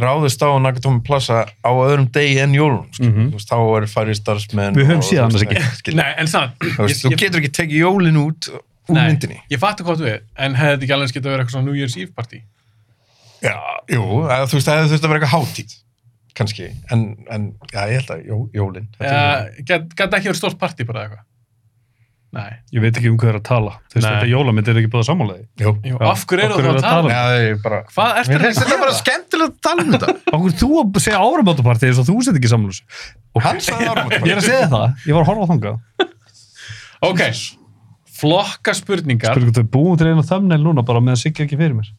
ráðist á Nakatómi Plaza á öðrum degi en jólun, sko. Mhm. þú veist, þá eru færri starfsmenn Við höfum og- séð þú veist, annars ekki. skilur. Nei, en samt. Þú veist, þú getur ekki tekið jólin út úr Nei. myndinni. Ég fattu hvað þú er, en hefði þetta ekki alveg getið að vera eitthvað svona New Year's Eve party. Já, jú, að, þú veist, það hefði þurft að vera eitthvað hátíð, kannski, en, en já, ég held að jó, jólin. þetta er- Uh, Gæti ekki verið stórt party bara eða eitthvað. Nei. Ég veit ekki um hvað er að tala. Þess Nei. að þetta jólamynd er ekki búið að samálaði. Jú. Jú, Já, af hverju af eru þú hverju að eru tala að um? Já, ég bara... Hvað ertu Mér finnst að þetta bara gera? skemmtilegt að tala um þetta. Okkur þú að segja áramótapartið eins og þú sett ekki samlús. Hann sagði áramótapartí. Ég er að segja það. Ég var að horfa á þanga. Ok, flokka spurningar. Spurningu, þau búum til einu þömmneil núna bara meðan Siggi er ekki fyrir mér.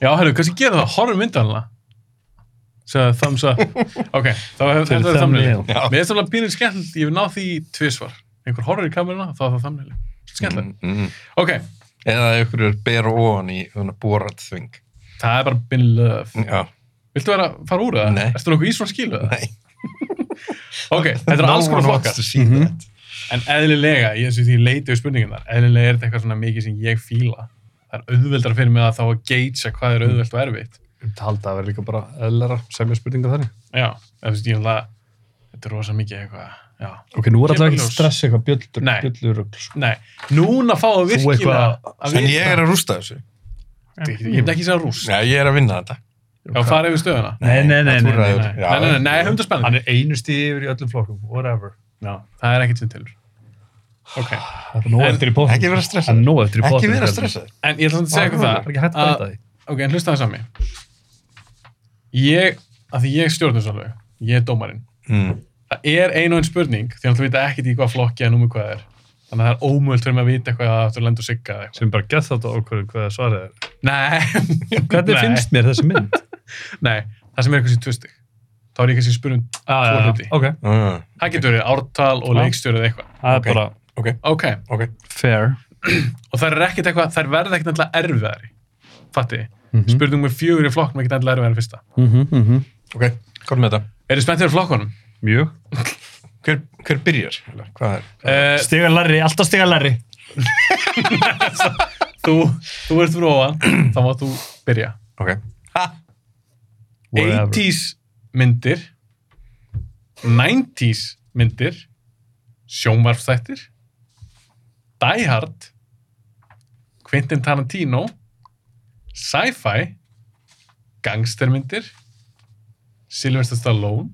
Já, herru, kannski gera það, horfum myndanlega. Sæða thumbs up. Ok, þá Fyrir hefur þetta verið thumbnail. thumbnail. Mér Já. finnst alveg pínir skemmtilegt, ég hef náð því tvisvar. Einhver horfir í kameruna, þá er það thumbnail. Skemmtilegt. Mm, mm. Ok, Eða ef ykkur er bera ofan í svona borat þving. það er bara been love. Já, Viltu vera að fara úr það? Nei. Erstu nokkuð í svona skilu það? nei. Ok, þetta er alls konar flokkar. Mm Mhm. -hmm. En eðlilega, ég eins og því ég leiti við spurningunar, eðlilega er þetta eitthvað svona mikið sem ég fíla. Það er auðveldar fyrir mig að þá að geitsa hvað er auðveld og erfitt. Ég haldi að vera líka bara eðlera semja spurninga þannig. Já, en þú veist, ég er alveg, þetta er rosa mikið eitthvað, já. Ok, nú er Kemur alltaf ekki ljós. stress eitthvað bjöllur, sko. Nei. bjöllur og svona. Nei, núna fáum við Þú virkilega eitthvað- að En vita. ég er að rústa þessu. Ég myndi ekki segja rúst. Já, ég er að vinna þetta. Já, farið við stöðuna. Nei, nei, nei, nei, nei, Náttúrulega- nei. Já. Nei, nei, nei, nei, höfum þetta spennandi. Hann er einu stíð yfir í öllum flokkum, whatever. Já, það er ekkert sem tilur. Ok, Það er nóg En eftir í pótum. ekki vera stressaður. Það er nóg eftir í pótum. Ekki vera stressað. en ég ætla samt að segja Ah, Það er eitthvað ekki hægt að að- breyta því. Ok, en hlusta það sami. Ég, að því ég stjórnum svo alveg, ég er dómarinn. Mm. Það er ein og ein spurning, því hann vita ekkert í hvað flokki en um hvað það er. Þannig að það er ómöld fyrir mig að vita eitthvað að þú lendur sigga eða eitthvað. Sem bara gett þátt á okkur hvað svarið er. Nei. Hvernig Nei. finnst mér þessi mynd? Nei, það sem er eitthvað sér tvistig. Þá er ég kannski spurning Ah, tvo já, hluti. Ok, Mm. Það getur verið ártal og Já. leikstjórið eitthvað. það er Ok. bara Ok, Ok, ok. fair. og þær er ekkert eitthvað, þær verða ekkert nefnilega erfiðari. Fatti, mm Mhm. -hmm. spurning með fjögur í flokknum ekkert nefnilega erfiðari en fyrsta. Ok, hvað er með þetta? Eru spennt fyrir flokkunum? Mjög. Hver, hver byrjar? Eller, Hvað er? Uh, Eh, Stiga larri, alltaf stiga larri. þú, þú ert fyrir ofan, þá má þú byrja. Ok. 80s myndir 90s myndir sjónvarfstættir Die Hard Quentin Tarantino Sci-Fi Gangstermyndir Sylvester Stallone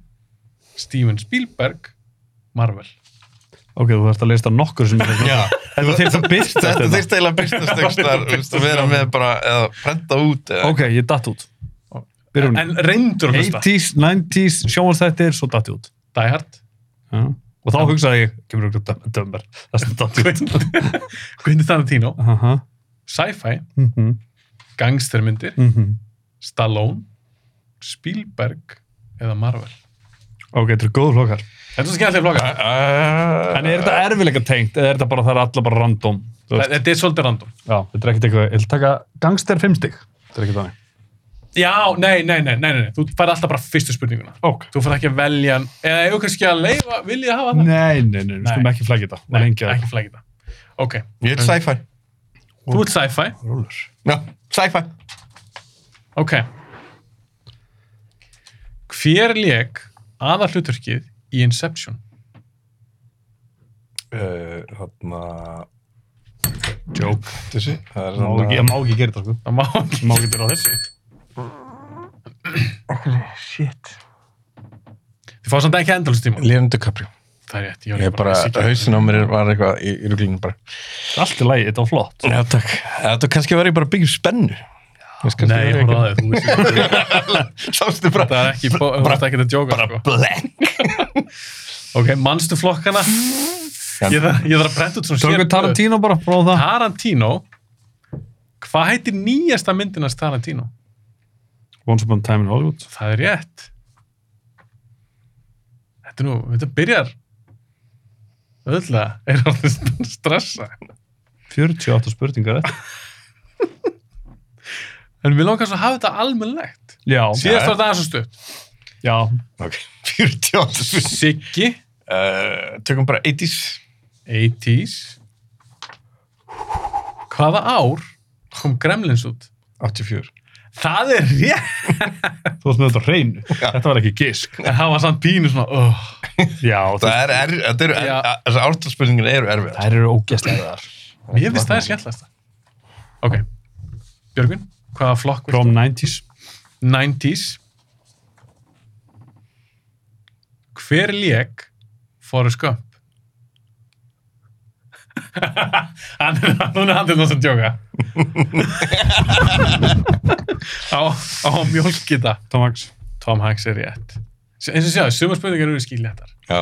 Steven Spielberg Marvel Ok, þú þarfst að lista nokkur sem er Já. Þetta þyrfti að birta Þetta þetta. þurfti eiginlega að byrstast ekki þar, þú veist, að vera með bara, eða prenta út, eða, Ok, ég datt út. Byrjum. en reyndur að hlusta 80s, 90s, sjónvarsþættir, svo datt ég út. Die Hard Já. Og þá hugsaði ég, kemur okkur dömmer. Það sem datt ég út. Quentin Tarantino Aha. Sci-Fi Mhm, Gangstermyndir mhm. Stallone Spielberg eða Marvel Ok, þetta eru góð flokkar. Þetta er svo skemmtilega flokkar. En er þetta erfilega tengt eða er þetta bara, það er alla bara random? Þú veist, Þetta er svolítið random. já, þetta er ekkert eitthvað, ég vil taka gangster 5 stig. Þetta er ekki þannig. Já, nei, nei, nei, nei, nei, nei. Þú fær alltaf bara fyrstu spurninguna. Ok. Þú fær ekki að velja, hann- eða ég kannski að leifa, vil ég hafa það? Nei, nei, nei, við skulum Nei. ekki flækja þetta. Nei, Nei, lengi að ekki flækja það. Ok, Ég er sci-fi. þú ert sci-fi. rúlur. Já, sci-fi. Ok. Hver leik aða hluturkið í Inception? Uh, þarna, Joke. þessi, það er Má ekki, ég þarna, má ekki gera þetta, sko. Það má ekki. Ég Má ekki byrja á þessu. shit. Þið fá samt ekki endalust tíma. Leonardo DiCaprio. Það er rétt, ég Ég er bara, hausin á mér var eitthvað í, í ruglingum bara. Allt í lagi, þetta var flott. Já, takk. Þetta kannski var ég bara að byggja upp spennu. Nei, ég horfði að þið, þú veist ekki. Sástu bara, Það er ekki, þú veist ekki að djóka. sko. blenk. Ok, manstu flokkana? Ég þarf ég þarf að brenda út svona Tökum sérblöð. Tarantino bara, prófa það. Tarantino Hvað heitir nýjasta myndinast Tarantino? Once Upon a Time in Hollywood. Það er rétt Þetta er nú, þetta byrjar öðlega er orðið stressa 48 spurningar eftir. en við langar svo að hafa þetta almennlegt Já. síðast var þetta aðeins og stutt Já. Ok, 48 spurning. Siggi, Uh, tökum bara 80s. 80s Hvaða ár kom Gremlins út? 84. Það er rétt Þú varst með þetta á hreinu. Þetta var ekki gisk. en það var samt pínu svona oh. Já, það, Það er, er, þetta eru, Já. er, þessar ártalspurningin eru erfiðar. þær eru ógæstlega þar. Mér finnst það er skemmtilegast Ok, Björgvin hvaða flokk viltu? From 90s. 90s Hver lék Forrest Gump? hann er hann er handið náttúrulega að djóka á, á mjólkita Tom Hanks. Tom Hanks er rétt S- eins og sjáðu, sumar spurningar eru skiljettar Já,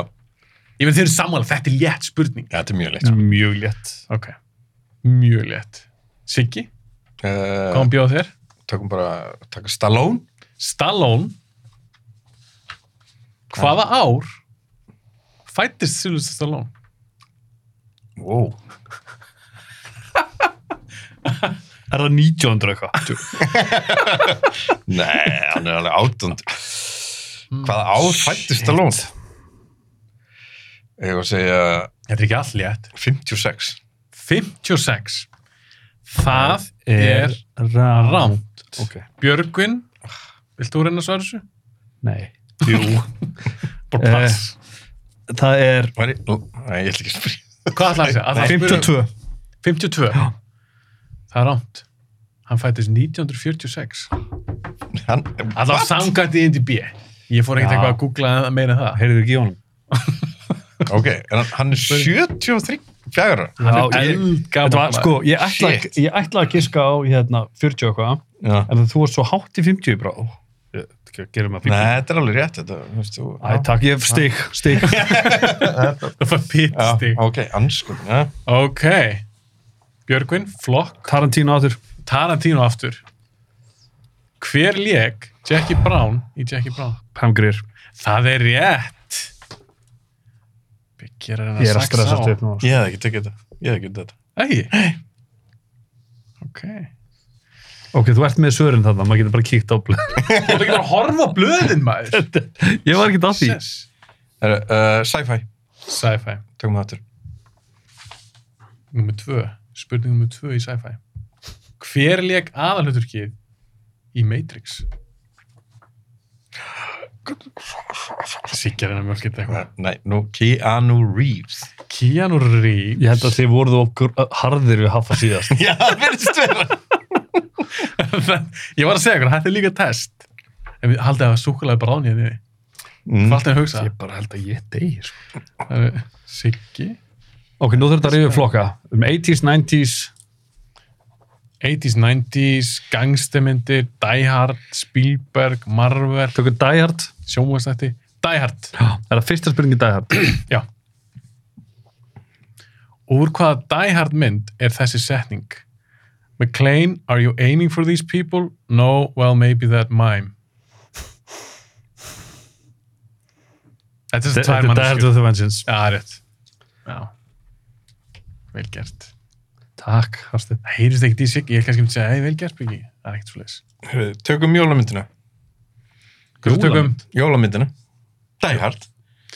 ég veit þeir eru sammála, þetta er létt spurning Já, þetta er mjög leitt. Mjög létt. ok, mjög létt Siggi, hvað Uh, hann bjóð þér? tökum bara, taka Stallone. Stallone hvaða Ah. ár fættist Sylvester Stallone Wow. Er það 1900 eitthvað? Nei, hann er alveg átund. Hmm, Hvaða ár fættist Stallone? Ég var að segja þetta er ekki all létt 56. 56 það er Er rám. rámt Ok. Björgvin viltu þú reyna að svara þessu? Nei. Jú. bara pass það er Var ég? Ó, Nei, ég ætla ekki að spyrja. Hvað ætlar það að segja? 52. 52. Það er rámt. Hann fættist 1946. Hann, Alltaf samkvæmt í INDB. Ég fór ekkert Já. eitthvað að googla meira en það. Heyrðu ekki í honum? ok, en hann, hann er 73 fjara. Hann Já, ég- er eldgammal. Þetta var, sko, ég ætla, Shit. ég ætla að giska á hérna, 40 og eitthvað, Já. en þú ert svo hátt í 50 bara, ó, ég- gerum að Nei, 50. þetta er alveg rétt, þetta, veist þú. Æ, takk, ég stig, stig. Það Já, var pittstig. ok, anskun, já. Ok. Björgvin, flokk. Tarantino aður. Tarantino aftur. Hver lék Jackie Brown í Jackie Brown? Pam Grier. Það er rétt. Byggir er Ég er að stressast upp núna. sko. Ég hef ekki tekið þetta. Ég hef ekki tekið þetta. Ægi. Ok. Ok, þú ert með sörin þarna, maður getur bara kíkt á blöð. Þú ert ekki bara að horfa á blöðin, maður. Ég var ekki að því. Sess. Heru, uh, sci-fi, Sci-fi. tökum það aftur. Númer tvö. Spurning nummer tvö í sci-fi. Hver lék aðalhuturkið í Matrix? Sikkar en að mjölk geta eitthvað. Nei, nú, Keanu Reeves. Keanu Reeves. Ég held að þið voruð okkur harðir við hafa síðast. Já, það verðist vera. ég var að segja ykkur, þetta er líka test en við haldið að súkulega bráðnið niður Mm. hérna hvað allt er að hugsa Ég bara held að ég degi, sko. Það er Siggi, Ok, nú þurfum þetta að rifja upp flokka. Um 80s, 90s, 80s, 90s gangstermyndir, Die Hard Spielberg, Marvel tökum Die Hard. sjónvægstætti, Die Hard Það er að fyrsta spurningi Die Hard. já og úr hvaða Die Hard mynd er þessi setning McLean, are you aiming for these people? No, well maybe that mime Þetta er svo Þetta time er Die Hard with a Vengeance. Já, það er rétt. Já. Vel gert. Takk, Harsteinn. Það heyrist ekkert í sig, ég er kannski myndi segja, hei, vel gert, Byggi. Það er ekkert svo leiðis. Heru, tökum jólamyndina. Hvað tökum? Jólamynd? Jólamyndina. Die Hard.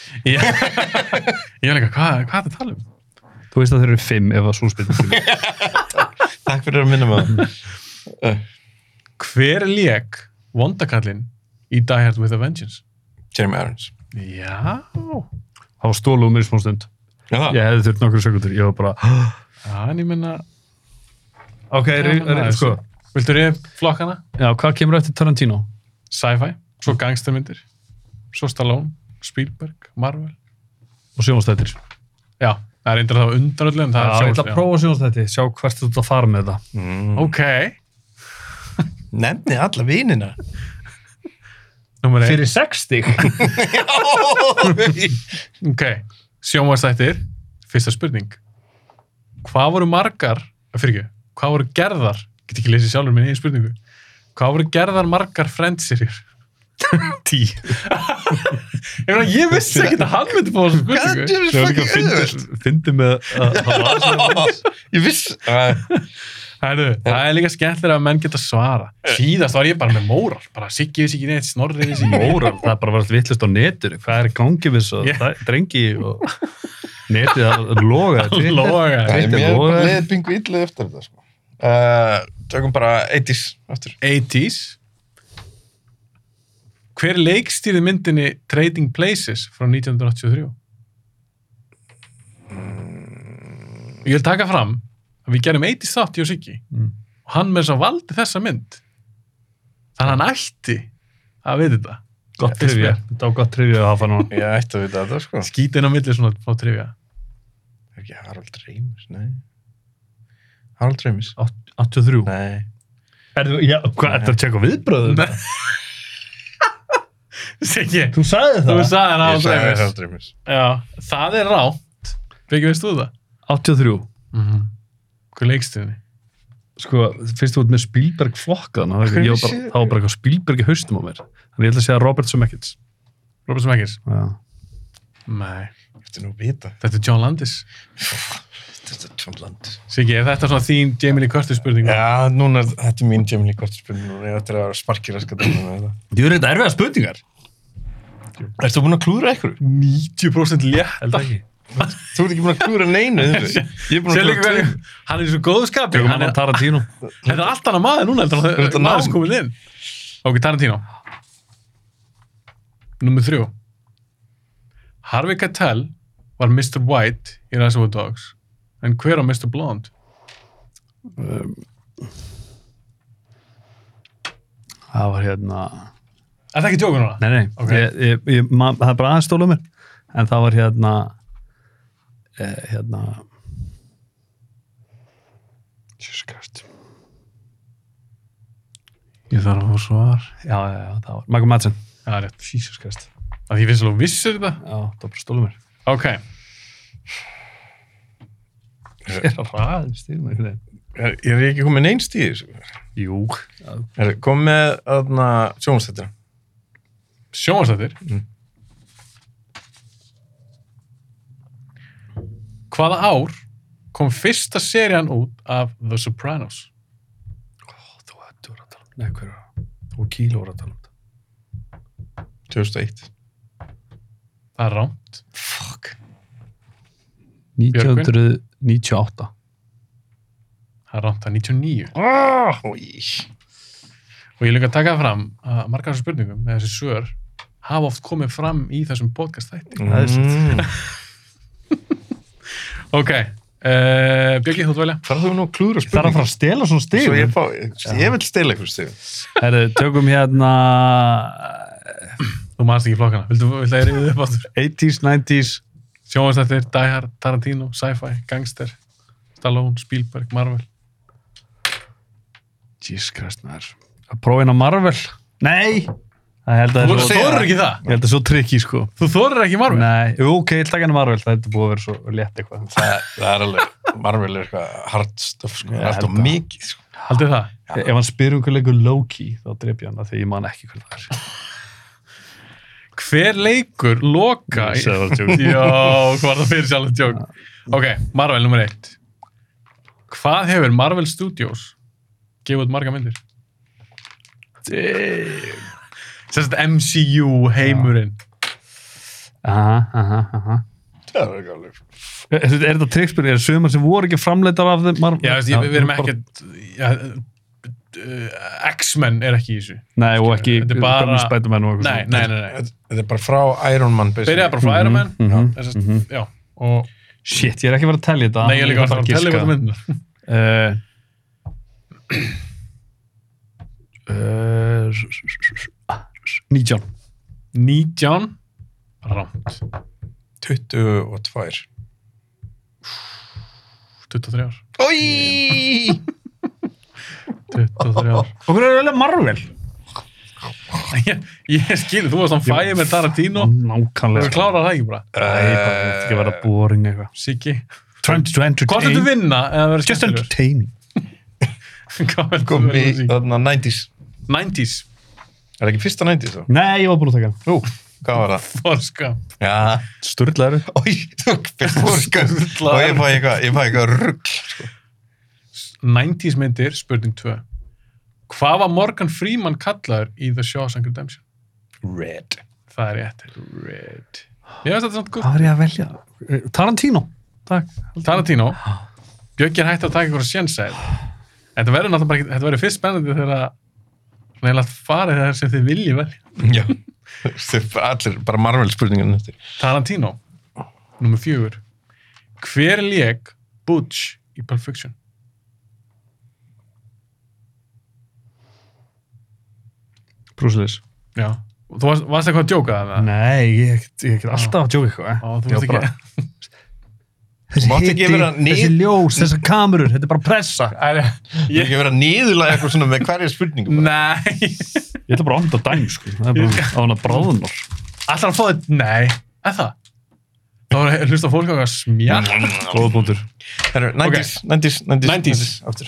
Já. ég er líka, hvað, hvað er þetta að tala um? Þú veist að þeir eru fimm ef að svo spurningi. Takk fyrir að minna maður. Hver lék vondakallin í Die Hard with a Vengeance? Jeremy Irons. Já. Það var stólu um mér í smá stund. Já, það. Ég hefði þurft nokkur sekundur. Ég var bara... Það ég menna, Ok, ri- Gaman að ri- þessu. sko. viltu reyð flokkana? Já, hvað kemur eftir Tarantino? Sci-fi, svo gangstermyndir, svo Stallone, Spielberg, Marvel. Og sjónastættir. Já, það er eindir þá undanöldu Já, en það ég er ætla að prófa sjónastætti. Sjá hvert þú ert að fara með það. Mm. Ok, Nefni alla vinina. nummer 1. 60? Ok, sjónvarsættir, fyrsta spurning. Hvað voru margar, fyrir ekki, hvað voru gerðar, get ekki lesið sjálfur minn einu spurningu, hvað voru gerðar margar friendsirir? Tí. Ég, meina, ég vissi ekki að hann myndi fá þessu spurningu. Þetta er fucking auðvöld. Fyndi með að hann var Ég viss. Uh, Hæru, það er líka skemmtilega að menn geta svara. Síðast var ég bara með móral, bara Siggi vissi ekki neitt, Snorri vissi ekki neitt. móral. Það er bara að vera vittlust á netur. Hvað er í gangi við svo? Ég- Yeah. Drengi og netið að loga. Loga. Nei, Þetta er mér voða. leðið pingu illa eftir þetta, sko. Uh, tökum bara 80s aftur. 80s. Hver leikstýrði myndinni Trading Places frá 1983? Ég vil taka fram að við gerum 80s þátt í og Siggi Mm. og hann með þess að valdi þessa mynd þannig að hann ætti að veit þetta Gott Fyrst trivja. mér. Þetta var gott trivja að hafa núna. Ég ætti að vita þetta, sko. skítið inn á milli svona á trivja Er ekki Harald Reimis, nei. Harald Reimis. 83. Nei. Er þú, já, hvað, ertu að tjekka viðbröðum? Nei. Siggi, Þú sagði þú sagði hann á Ég sagði dreifis Harald Reimis. Já, það er rátt Byggja veist þú það? 83. Mm -hmm. Hver leikstýrði? Sko, fyrst þú ert með Spielberg flokkaðan, það var ég var bara, það var bara eitthvað Spielberg í haustum á mér. Þannig ég ætla að segja Robert Zemeckis. Robert Smekkers? Já. Nei, Ég ætti nú að vita. þetta er John Landis Þetta er John Landis. Siggi, er þetta svona þín Jamie Lee Curtis spurning? Já, núna, þetta er mín Jamie Lee Curtis spurning núna. Ég ætti að vera sparkir að skata með þetta. Þú eru þetta erfiða spurningar. Ertu búin að klúra ykkur? 90% létt Held ekki. Þú ert ekki búin að klúra neinu, þú veist. Ég er búin að Sérleika klúra hverju, tveim. hann er í svo góðu skapi Tökum hann hann er, að Tarantino. Þetta er allt annað maður núna heldur en Þetta það- nám. maður sem komið inn Ok, Tarantino Númer þrjú Harvey Keitel var Mr. White í Reservoir Dogs en hver var Mr. Blonde? Það var hérna... Er það ekki tjókur núna? Nei, nei, Ok. ég, ég, ég, ma, það er bara aðeins stóluð mér. En það var hérna... Eh, hérna... Jesus Christ. Ég þarf að fá svar. Já, já, já, það var. Michael Madsen. Já, það er rétt. Jesus Christ. Að því finnst alveg vissir þetta. Já, það var bara stóluð mér. Ok. Ég er að ræða stíðum einhvern veginn. Er, ég er ekki komið neynst í þessu. Jú. Er, kom með aðna sjónstættina. Sjónvarsættir. Mm. Hvaða ár kom fyrsta serían út af The Sopranos? Þú ættu að tala um. Nei, hver var það? Þú var kíló að tala um það. 2001. Það er rámt. Fuck. Björgvin? 1998. Það er rámt að 99. Ah, oj. Og ég er líka að taka það fram að margar af þessum spurningum með þessi svör hafa oft komið fram í þessum podcast þætti. Það er satt. Mm. Ok. Uh, Björki, þú ert velja. Farðu nú að klúra Það er að fara að stela svona stíðum. Svo ég, fá, ég vil stela ykkur stíð. Herru, tökum hérna eh, Þú maðurst ekki flokkana. Viltu, viltu að ég reyði upp áttur? 80s, 90s Sjónvarsættir, Die Hard, Tarantino, Sci-Fi, Gangster, Stallone, Spielberg, Marvel. Jesus Christ, maður Að prófa hérna Marvel Nei! Það held að það er Þú að svo, segja- þorir það. ekki það. ég held að það er svo trikki, sko Þú þorir ekki Marvel. Nei, jú, ok, ég taka hérna Marvel Það hefði búið að vera svo létt eitthvað Það, það er alveg, Marvel er eitthvað hard stuff, sko. Það Ég er alltaf held að- mikið, sko. Haldið það? Ef hann spyr um hver leikur Loki þá drep ég hann af því ég man ekki hver það er Hver leikur loka í... Sagði það tjók. Já, hvað var það fyrir sjálf tjók? Ok, Marvel nummer eitt. Hvað hefur Marvel Studios gefið út marga myndir? Sérst MCU heimurinn. Aha, aha, aha Það er ekki alveg. Eh, Er, er þetta trikkspyrir? Er sumar sem voru ekki framleitar af þeim Marvel? Já, veist, ég, við erum bara- ekkert... Já, uh, X-Men er ekki í þessu. Nei, og ekki Þetta er bara- gömlu Spider-Man og Nei, nei, nei, nei. Þetta þetta er bara frá Iron Man. basically. Byrjaði bara frá Iron Man. Mhm, mhm, Já, sérst, já. Og, Shit, ég er ekki verið að telja þetta nei, ég er líka að fara að tella ykkur myndina. Eh, eh, s- s- s- s- ah, s- 19 19. Rámt. 22. 23 ár. Oi! 23 ár. Okkur er alveg Marvel ég, ég skil, þú varst hann fæði með Tarantino Mm. Þú Nákvæmlega erum klárað það ekki bara Æ, bara, þú ert ekki að Eh, vera boring eitthvað Siggi Trying to Hvort þetta entertain vinna eða vera Just skemmtilegur? entertaining Hvað viltu Kom vera, í Siggi? þarna 90s. 90s Er það ekki fyrsta 90s þá? Nei, ég var búin að taka hann Ú, hvað var það? Þorska Já. Sturlaður Oi, þú fyrst fór, sko. Og ég fæ eitthvað, ég fæ eitthvað rugg. 90s myndir, spurning 2 Hvað var Morgan Freeman kallaður í The Shawshank Redemption? Red. Það er rétt Red Mér finnst þetta samt góð Hvað er ég að velja? Eh, Tarantino Takk Tarantino Bjöggi er hægt að taka ykkur að sjensa Þetta verður náttúrulega bara ekki- Þetta verður fyrst spennandi þegar að Svona eiginlega að farið þegar sem þið viljið vel Já. Þeir- Allir, bara Marvel spurningan eftir. Tarantino Númer fjögur Hver leik Butch í Pulp Fiction? Bruce Willis Já Og Þú varst, varst eitthvað að djóka það með það? Nei, ég er ekkert- ég er ekkert alltaf að djóka eitthvað eh. Á, þú Ég veist var ekki bara- Þessi Mátti hiti, ekki vera nýr- þessi ljós, þessar kamerur Þetta er bara pressa Það er- Þú er ekki að vera niðurlega eitthvað svona með hverja spurningu. bara. Nei Ég ætla bara að onda dæmi, sko. Það er bara á hana bráðunar. Allar að fá þetta Nei Er það? Þá var að hlusta fólk á eitthvað smjart Góða búndur. Herru, 90s, 90s, 90s, 90s. aftur.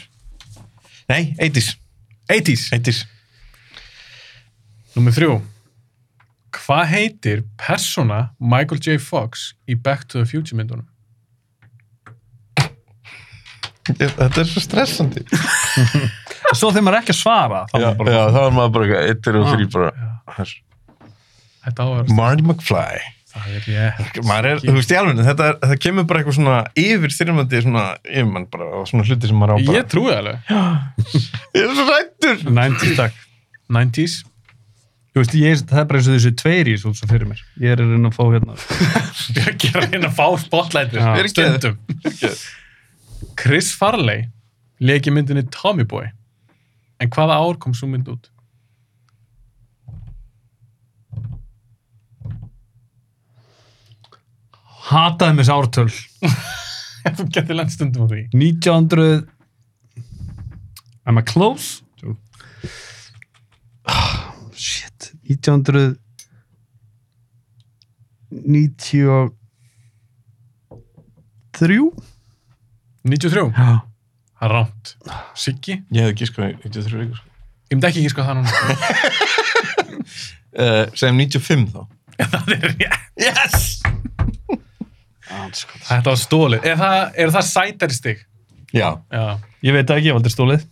Nei, 80s, 80s 80s. Númer þrjú Hvað heitir persóna Michael J. Fox í Back to the Future myndunum? Ég- Þetta er svo stressandi. Svo þegar maður er ekki að svara, þá Já, er bara... já, þá er maður bara eitthvað, eittir og Ah. þrý bara. Herru, Þetta áverðast Marty McFly. Það er rétt Maður er, þú veist, í alveg, þetta er, það kemur bara eitthvað svona yfir þyrmandi, svona yfir mann bara og svona hluti sem maður á bara. Ég trúi það alveg Ég er svo rættur. 90 takk. 90s Þú veist, ég, það er bara eins og þessu tveir í þessu út svo fyrir mér. Ég er að reyna að fá hérna. Björk er að reyna að fá spotlightir Já. Fyrir geðu. stundum Chris Farley leki myndinni Tommy Boy en hvaða ár kom svo mynd út? Hataði mér þessi ártöl. Ef þú getur lenn stundum á því 1900... Am I close? Ah, Shit. 1993? 93, Já. það er rámt Siggi, Ég hefði gískað 93 vikur. ég myndi ekki ekki sko það núna Uh, segjum 95 þá. það er rétt Yes! Þetta var stólið, er það, er það sætari stig? Já. Já Ég veit ekki, ég valdi stólið.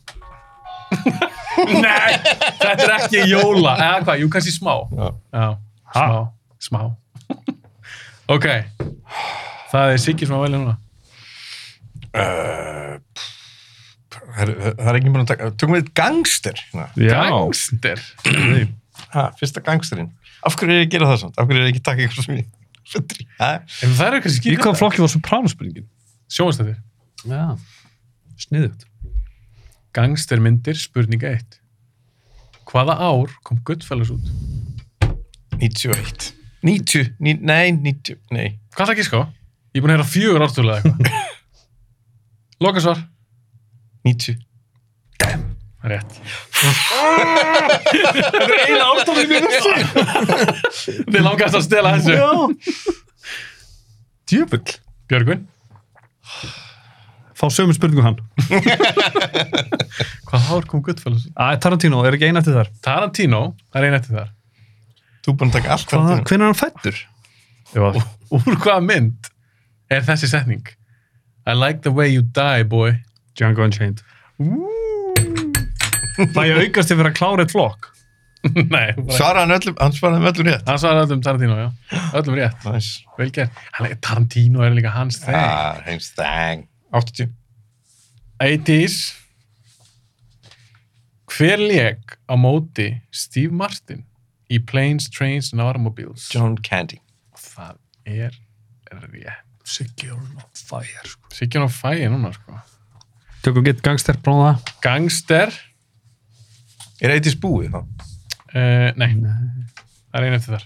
Nei, þetta er ekki jóla eða hvað, jú kannski smá Já. Já, Ha? smá, smá Ok Það er Siggi sem að velja núna Uh, það, er, það er ekki búin að taka... Tökum við gangster. hérna. Gangster Ha, fyrsta gangsterinn. Af hverju er ég að gera það samt? Af hverju er ég ekki að taka eitthvað sem ég... Svo drí- Ha? En það er eitthvað Í skýr hvaða flokki var Sopranos-spurningin? Sjónastættir Já. Sniðugt. Gangstermyndir, spurninga 1 Hvaða ár kom Goodfellas út? 91. 90. Ní, nei, 90. Nei. Hvað það ekki sko? Ég er búin að heyra fjögur ártölu eða eitthvað Lokasvar 90. Rétt Þetta er eina ártölu mínu Þið langast að stela þessu Djöfull. Björgvin Fá sömu spurningu hann. Hvað ár kom Goodfellas? Æ, Tarantino, er ekki eina til þar. Tarantino, það er einn eftir þar. Þú er búin að taka allt Hvaða, þetta. hvernig er hann fættur? Var... Úr hvaða mynd er þessi setning? I like the way you die, boy. Django Unchained. Það ég aukast til fyrir að klára eitt flokk. Nei, þú bara- Svaraði hann öllum, hann svaraði hann öllum rétt. hann svarði öllum Tarantino, já. Öllum rétt, Næs. vel gert. Hann er Tarantino, er líka hans þeng. Ah, heims þang. 80. 80s. Hver leik á móti Steve Martin í Planes, Trains and Automobiles? John Candy. Það er rétt. Siggy on fire. sko. Sikkjum á fæi núna, sko. Tökum gett gangster, bróða. Gangster. Er 80s búið þá? Uh, nei. það er einu eftir þar.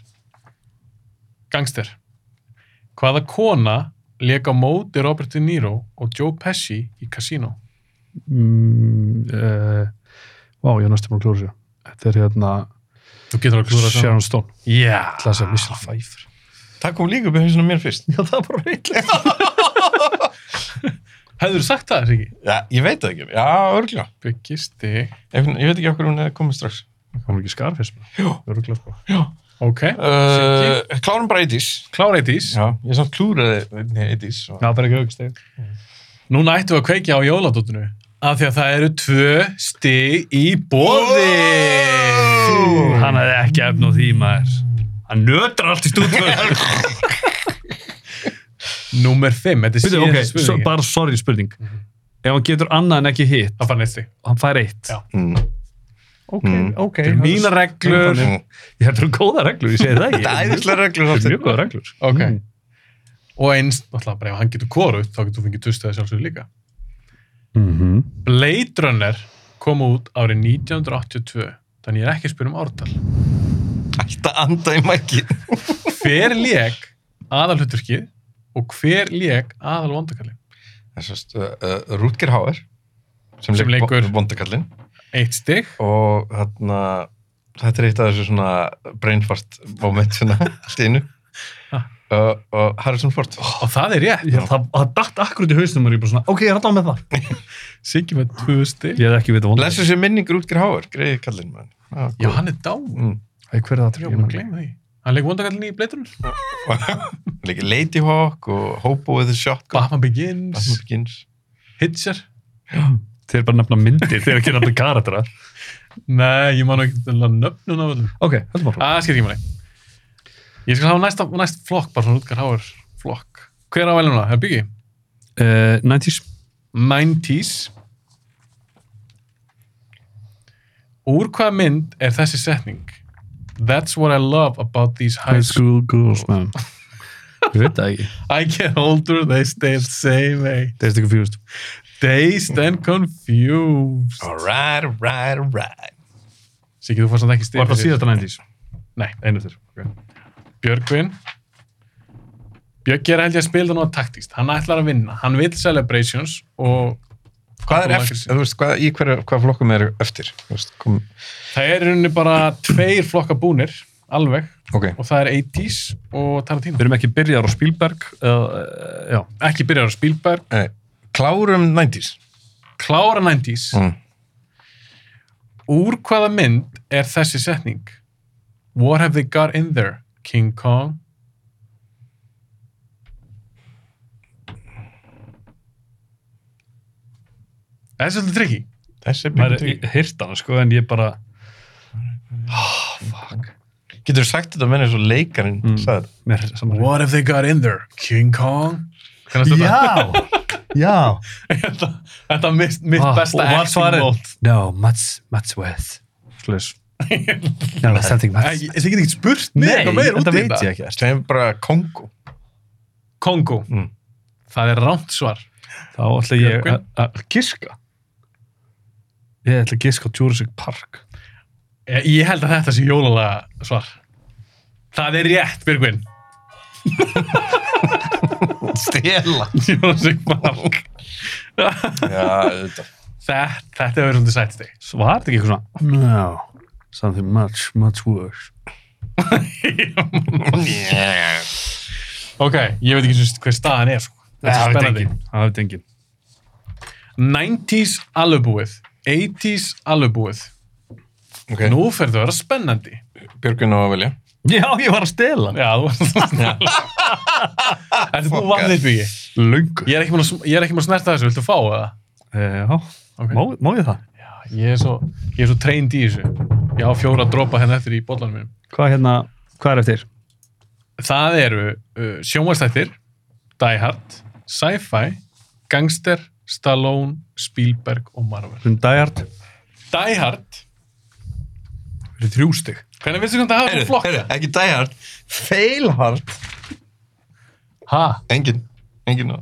Gangster. Hvaða kona leik á móti Robert De Niro og Joe Pesci í Casino? Mm, uh, vá, ég er næstum búin að klúra sér. Þetta er hérna Þú getur að klúra það. Sharon Stone. Já. Það er sér Michelle Pfeiffer. Það kom líka upp í hausinu mér fyrst. Já, það er bara reyndlega. Hefur þú sagt það, Riki? Já, ég veit það ekki. Já, örgulega. Byggisti. Ég, ég veit ekki okkur hún er komið strax. Komur ekki skarfis? Já. Öruglega sko. Já. Ok. Uh, klárum bara 80s. Klára eitt ís. Já, ég samt klúraði einni 80s. Og... Já, það er ekki aukast þegar. Núna ættum við að kveikja á jóladóttinu. Af því að það eru tvö stig í bóði. Hann hefði ekki efn á því maður. Hann nötrar allt í stúdíu. Númer 5. Þetta er Býtu, síðan ok, okay, so, spurningin. bara sorry spurning. Ef hann getur annað en ekki hitt, Það fann eitt stig. hann fær eitt. Já. Mm. Ok, Mm. ok. Þetta er mína reglur. Mm. Ég heldur um góða reglur, ég segi það ekki. Þetta er æðislega reglur. Þetta samt. er mjög góða reglur. Ok. Mm. Og eins, náttúrulega bara ef hann getur koruð, þá getur þú fengið tustuða sjálfsögur líka. Mhm. Blade Runner kom út árið 1982, þannig ég er ekki að spyrja um ártal. Alltaf anda í mækin. Hver lék aðalhuturkið og hver lék aðal vondakallin? Þessast, uh, uh, Rutger Hauer, sem, Sem leik- leikur- Bo- Bondakallinn. Eitt stig, Og þarna, þetta er eitt af þessu svona brainfart moment svona, allt í einu. Ha. Oh, Uh, og Harrison Ford. og það er rétt. Ég, það, það datt akkurat í hausnum og ég bara svona, ok, ég er alltaf með það. Siggi með tvö stig. Ég hef ekki vitað vonað. Blessu sér minning Rutger Hauer, greiði kallinn mann. Ah, Já, hann er dáin. Mm. Æ, hver er það? Ég Ég er man búin að ekki. gleyma því. Hann leik vondakallin í Blade Runner. Líka Lady Hawk og Hobo with a Shotgun. Batman Begins, Batman Begins. Hitcher. Þeir bara nefna myndir, þeir ekki nefna karatera. Nei, ég man ekki nöfnun á öllum. Ok, höllum bara. Að, Ah, það skilur ekki máli. Ég skal hafa næsta, næst flokk, bara svona útgar háar flokk. Hver er á veluna? Er byggi? Uh, 90s. 90s. Úr hvaða mynd er þessi setning? That's what I love about these high High school school. girls, man. Ég veit það ekki. I get older, they stay the same age. Dazed and Confused. Dazed and confused. Alright, alright, alright. Sikið, þú fannst hann ekki stið. Var það síðasta 90s? Nei. Einu þér. Björgvin Björg er held ég að spila það nú að taktíst hann ætlar að vinna, hann vil celebrations og Hvað er Couple eftir, Lancashire. þú veist, hvað, í hverju, hvað flokkum er eftir? Þú veist, kom, það er í rauninni bara tveir flokka búnir alveg, ok, og það er 80s og Tarantino, Við erum ekki byrjar á Spielberg. Uh, já. ekki byrjar á Spielberg nei, Eh, klárum 90s. klára 90s, Mm. úr hvaða mynd er þessi setning What have they got in there? King Kong Það er svolítið trikki Þessi Maður byggur er til. hirtan, sko, en ég bara... Getur sagt þetta með eins og leikarinn, Mm. sagði þetta. Mér er saman. What have they got in there? King Kong? Kannast Já! Já! þetta, þetta er mitt, mitt Ah, besta og var svarið? mót. No, much, much worth. Slis. no, that's something much. Ég get ekki spurt mig Nei, eitthvað meira út þetta í veit ég þetta. ekki. Segjum bara Kongo. Kongo. Mm. Það er rámt svar. Þá ætla ég Björgvin? að- að giska. Ég ætla að giska á Jurassic Park. Ég, Eh, ég held að þetta sé jólalega svar. Það er rétt, Birgvin. Stela. Jurassic Park. Já, þetta. Þetta, þetta er verið svolítið sætt Var þetta ekki eitthvað svona? No, something much, much worse. þig. Yeah. ok, ég veit ekki einu sinni hver staðan er. Sko. Þetta er spennandi. Það veit enginn. 90s alveg búið. 80s alveg búið. Ok, Nú. Nú fer það að vera spennandi. Björgun á að velja. Já, ég var að stela. Já, þú Þetta er þú Fuck vannir byggi. Lungur. Ég er ekki múin að sm- ég er ekki múin að snerta þessu, viltu fá það? Eh, Já, má, má ég það? Ah, Ég er svo, ég er svo treynd í þessu. Ég á fjóra dropa henni eftir í bollanum mínum. Hvað hérna, hvað er eftir? Það eru uh, sjónvastættir, Die Hard, Sci-Fi, Gangster, Stallone, Spielberg og Marvel. Hún dæjart. Die Hard, Það eru þrjú stygg. hvernig finnst þú hvernig það hafa svona flokka? ekki dæhart. Feilhart. Ha? Engin, engin á.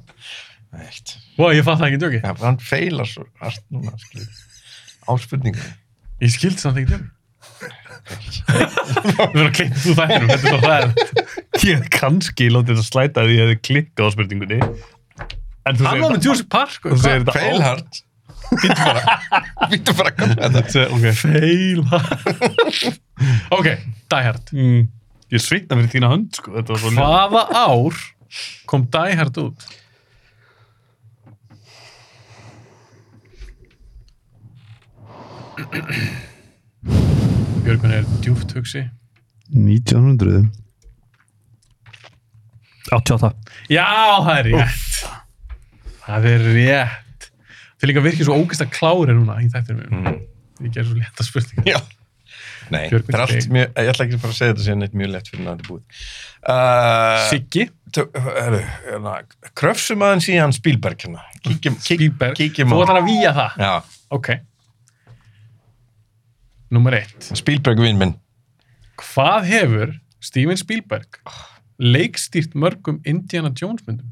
Eitt. Vá, ég fatt það ekki djóki. Já, hann feilar svo hart núna, skiljið. Áspurningu. Ég skildi samt ekki djóki. Við verðum að klippa þú þættinum, þetta er svo hræðilegt. Ég hef kannski látið að slæta því að ég hefði klikkað á spurningunni. En þú Hann var með Jurassic Park. Þú segir hvað? þetta Feilhart. Býttu bara. Býttu bara að kalla þetta. Ok. Feila. Ok, Die Hard. Mm. Ég svitna fyrir þína hönd, sko. Þetta var svo ljótt. Hvaða ár kom Die Hard út? Björgun er djúft hugsi. 1900. 88. Já, það er rétt. Það er rétt. Þið líka virkið svo ógist að klári núna í þættinum. Mm. Ég ger svo létta spurningar. Já. Nei, Björgvin það er allt Steig. mjög, ég ætla ekki bara að segja þetta sér neitt mjög lett fyrir náttúrulega búið. Siggi, Uh, sí. Kröfsum aðeins í hann Spielberg hérna. Kíkjum, kík, Bíberg, kíkjum þú ætlar að víja það. Já, Ok. Númer eitt. Spielberg vinn minn. Hvað hefur Steven Spielberg leikstýrt mörgum Indiana Jones myndum?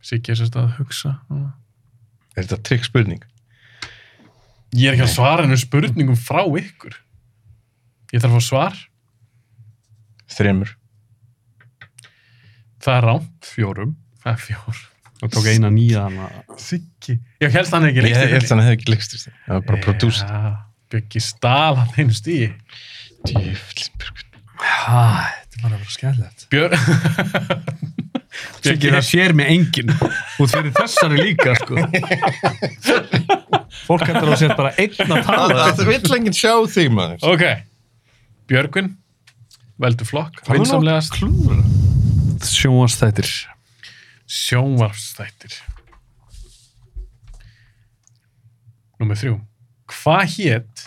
Siggi er sérst að hugsa. núna. Er þetta trygg spurning? Ég er ekki að svara hennu spurningum frá ykkur. Ég þarf að fá svar. Þremur. Það er rámt. Fjórum. Það er fjór. Það tók eina nýja hana. Siggi. Ég held hann ekki Ég leikstýrt. ég held að hann hefði ekki leikstist. Það var bara prodúst. Ja, Bjöggi stál hann einu stíi. Djöfullinn, Björgvin. Hæ, þetta var að vera skæðilegt. Björn Siggi, það sér mig enginn út fyrir þessari líka, sko. Fólk hættur á sér bara einn að tala. Það vill enginn sjá þig maður. Ok, Björgvin Veldu flokk, er nú vinsamlegast Klúður. Sjónvastættir. Sjónvarfstættir Númer þrjú Hvað hétt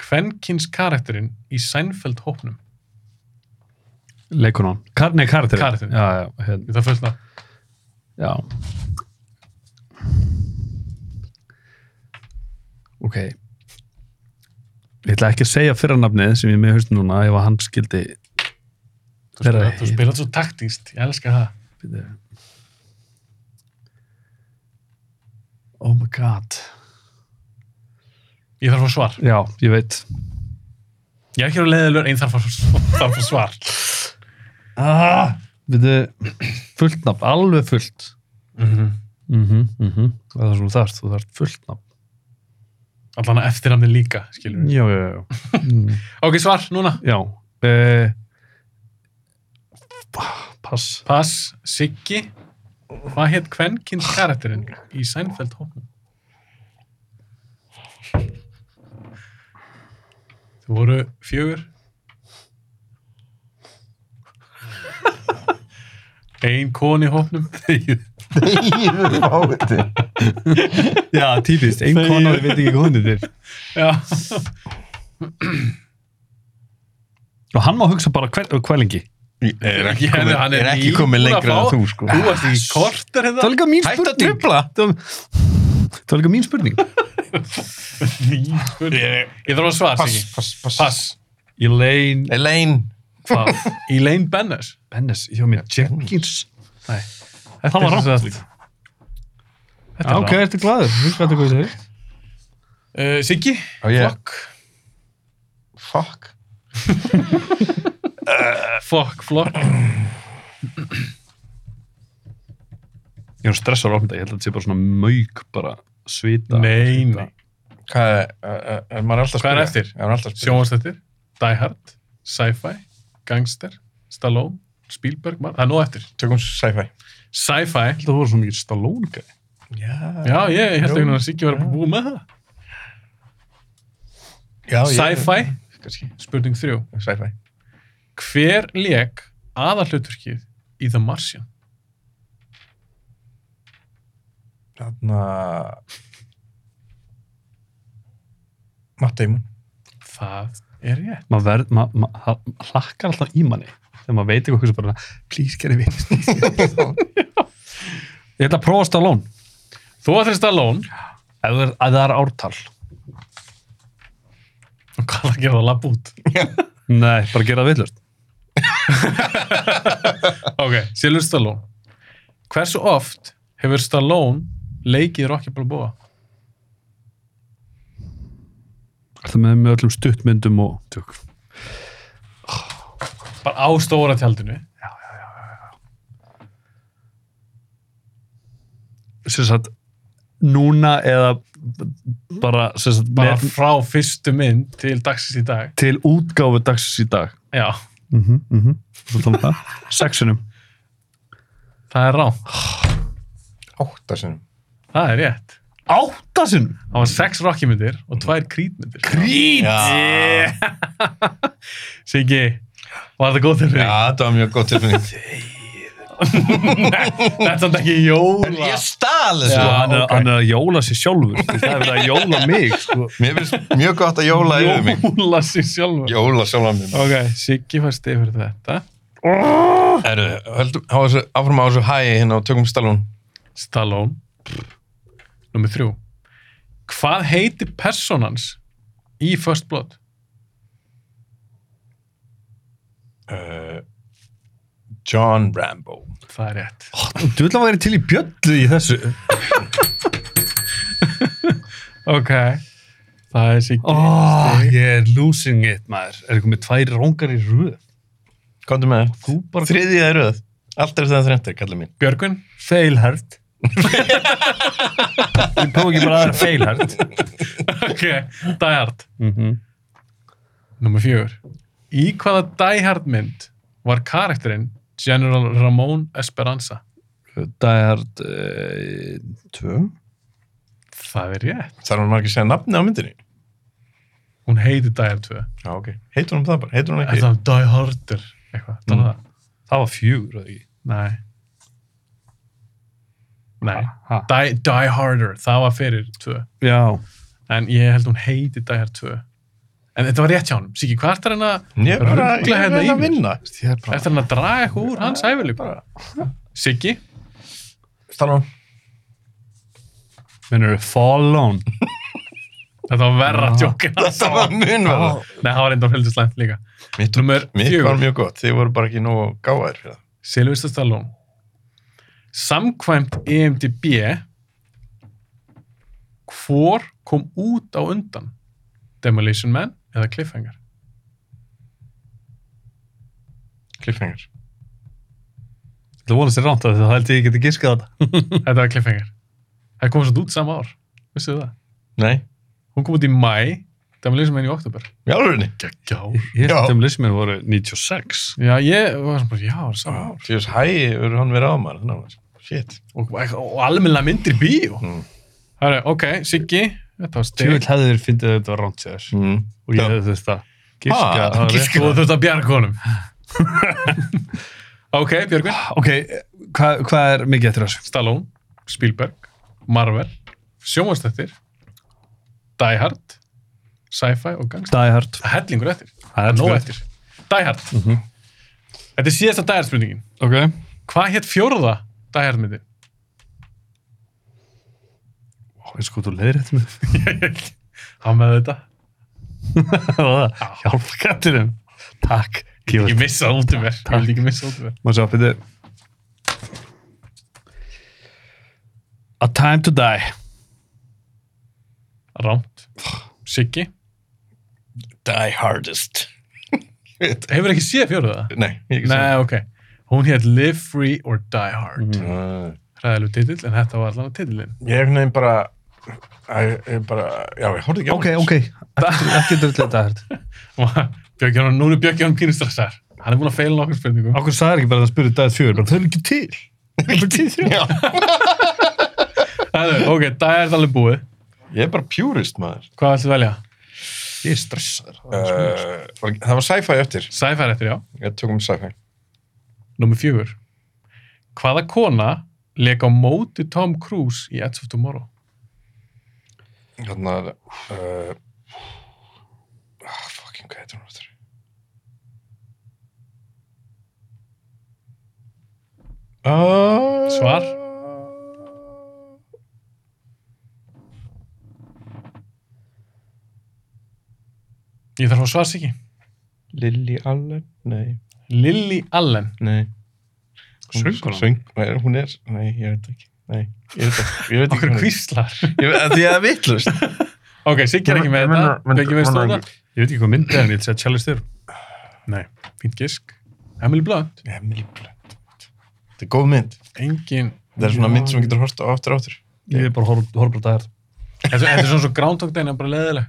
kvenkins karakterinn í Seinfeld hópnum? Leikunan. Kar nei, karakterin. Karakterinn. Já, já, hérna. Í Það fölst það Já. ok ég ætla ekki að segja fyrranafnið sem ég er með haust núna ef að hann skildi Þú spilar- Þeirra- þú spilar svo taktíst, ég elska það. Bíddu. oh my god Ég þarf að fá svar. já, ég veit Ég er ekki að leiða lögn, ég þarf að fá þarf að fá svar. ah, byrju, fullt nafn, alveg fullt Mhm. mm -hmm, mm -hmm. það er svona þarft, þú þarft fullt nafn Allan að eftirnafni líka, skilur við. já, já, já mm, Ok, svar, núna. já eh, pass Pass, Siggi. Hvað hétt kvenkins karakterinn í Seinfeld hóknum? Þú voru fjögur. Ein koni í hóknum. Þegiðu fáiði. já, típist, ein kona, ég veit ekki hvað hún er Já. og hann má hugsa bara hvel- kvælingi Ég er ekki Ég hefði- komið, hann er er ekki nýbúinn komið að lengra fá- en þú, sko. Þú varst ekki kortar það var hérna. líka mín Hættu að spurning það var- það var líka mín spurning Ég ég þarf að svara, Pass, Siggi. pass, pass. Pass. Elaine Elaine. hvað? Elaine Bennis. Bennis, hjá mér, Jenkins Nei. Það var rangt. Þetta er rangt. ertu glaður, hugsaðu hvað ég segir Uh, Siggi, Og ég, flokk. fuck. Flokk, flokk. Ég er stressað á þetta, ég held að þetta sé bara svona mauk bara svita Nei, nei. Hvað er, er, er maður alltaf að Hvað spyrja? er eftir? Er maður alltaf að spyrja? Sjónvastættir, Die Hard, Sci-Fi, Gangster, Stallone, Spielberg, man. það er nóg eftir. Tökum sci-fi. Sci-Fi. Þetta voru svona mikið Stallone gæði Já, Já, ég, ég held Jú. ekki að Siggi var að búið með það. já, ég- Sci-Fi, Kannski, spurning þrjú. sci-fi. Hver leik aðalhluturkið í The Martian? Þarna... Matt Damon. Það er rétt. Maður verð, ma, ma, það hlakkar alltaf í manni þegar maður veit eitthvað sem bara please get it, please get it Ég ætla að prófa Stallone Þú að þeir Stallone, ef það er, ef það er ártal og hvað að gera það lapp út? Nei, bara gera það villust Ok, Silvur Stallone. Hversu oft hefur Stallone leikið Rocky Balboa? Það með, með öllum stuttmyndum og tjók. Bara á stóra tjaldinu. sem sagt núna eða bara sem sagt Bara með, frá fyrstu mynd til dagsins í dag. til útgáfu dagsins í dag Já, mm -hmm, mm -hmm. Svo tala um það sexunum það er rátt. Átta sinnum. Það er rétt. áttasunum Það var sex Rocky-myndir og tvær Creed-myndir. Creed! Já. Siggi, var þetta góð til Já, fyrir? þetta var mjög góð tilfinning. Þetta er samt ekki jóla. Ég stal þessu. sko, Já, hann, er, ok. hann er að jóla sér sjálfur sko, það er verið að jóla mig sko. Mér finnst mjög gott að jóla yfir mig. Jóla sér sjálfur. Jóla sjálfan minn. Ok, Siggi fær stið fyrir þetta. Erðu, höldum, hafa þessu, áfram á þessu hæi hérna og tökum Stallone. Stallone. Númer þrjú. Hvað heiti personans í First Blood? Uh, John Rambo. Það er rétt. þú vil að vera til í bjöllu í þessu Ok. Það er Siggi. oh, ég er losing it maður er ekki með tvær róngar í röð Komdu með það. þú bara Þriðja er röð. Allt er það þremtir, kallar mín. Björgvin. failhard ég prófa ekki bara aðra failhard Ok, Die Hard. mm -hmm. Númer fjögur. Í hvaða Die Hard mynd var karakterinn General Ramón Esperanza? Die Hard eh, 2 Það er rétt. Þarf hann ekki að segja nafni á myndinni? Hún heiti Die Hard 2. Já, ok. Heitur hann það bara? Heitur hann Er ekki? það Die Harder? Eitthvað, þannig það. það var fjögur eða ekki Nei. Nei. ha. Die, Die Harder, það var fyrir 2. já, En ég held hún heiti Die Hard 2. En þetta var rétt hjá honum. Siki, hvað ertu hann að... Ég er bara ég Rugla er hérna að í reyna að mér. vinna. ég er bara Ertu hann að draga eitthvað úr hans æfileg? Siggi? Stallone. mennur Fall On Þetta var verra Ah. tjókin. Þetta var mun verða. Nei, það var enda fyrir slæmt líka. Mitt, Númer mitt fjögur. var mjög gott, þið voru bara ekki nógu gáðir fyrir það. Sylvester Stallone Samkvæmt E EMDB Hvor kom út á undan? Demolition Man eða Cliffhanger? Cliffhanger. Þetta vonast er rámt að það held ég ég geti giskað þetta. Þetta var Cliffhanger Það kom svo út sama ár, vissu það? Nei, Hún kom út í mæ, Demolition Man í oktober í alvegni. Gjár Ég Já. held að demlismin voru 96. Já, ég var svona bara, já, það er sama ár Fjós hægi, verður hann verið á maður. Þannig að maður, shit. og, og almennilega myndir í bíó Mm. Það er, ok, Siggi Þetta var Tjóðil stegið hefði þér fyndið að þetta var rámt sér. Mm. Og ég hefði þurft að Ha, giska. á rétt. giska. Þú þurft að bjarga honum Ok, Björgvin Ok, hvað hva er mikið eftir þessu? Stallone, Spielberg, Marvel, sjómanstættir, Die Hard, Sci-Fi og Gangsta. Die Hard. Það er hellingur eftir. Það er Nó hellingur eftir. Die Hard. Þetta er síðasta Die Hard spurningin. Ok. Hvað hétt fjórða Die Hard myndin? Ó, ég sko, þú leiðir þetta með Hann með þetta. það. Hjálpa kattinum. Takk. Ég Kjóðil. missa það út um mér. Ég Takk. vildi ekki missa það út um mér. Má sjá, fyrir. A Time to Die. Rámt. Siggi. Die hardest. Shit. Hefur ekki séð fjórða? Nei, ég ekki Nei, ok. Hún hétt Live Free or Die Hard. Mhm. Mm. Uh, Ræðilegu titill, en þetta var allan að titillin. ég er nefn bara, ég er bara, já, ég horfði ekki á Ok, hann. ok. Ekki- Ekki drullið Die Hard. Björkjörn, nú er Björkjörn pínu stressaður. Hann er búin að feila nokkur spurningum. Akkur sagði ekki bara að það spurði dagið fjögur, bara þau eru ekki til. Þau eru til þrjá. Já. Það er, ok, það er alveg búið. Ég er bara purist, maður. Hvað ætlum velja? Ég er stressaður. Uh, var- það var sci-fi eftir. Sci-fi eftir, já. Ég tók um sci-fi. Númer fjögur. Hvaða kona leik á móti Tom Cruise í Edge of Tomorrow? Þannig að, uh, ah, fucking, hvað heitir hún eftir? Uh, Svar? Ég þarf að svara sér ekki. Lily Allen? Nei. Lily Allen. Nei. Hún- Söngkonan? Söng, nei, hún er, nei, ég veit ekki. Nei, ég veit ekki. Ég veit ekki Okkur hún er. kvíslar. Ég veit- af Því að það er vittlust. ok, Siggi er ekki með þetta. Beggi veist þú þetta. Ég veit ekki hvað myndið er en ég ætla að segja Charlie Styr. Nei, fínt gisk. Emily Blunt. Emily Blunt. Þetta er góð mynd. Engin. Þetta er svona mynd sem getur hort á aftur og aftur. Ég er bara horfbróð dagið. Þetta þetta er svona svo Groundhog Day, en bara leðileg.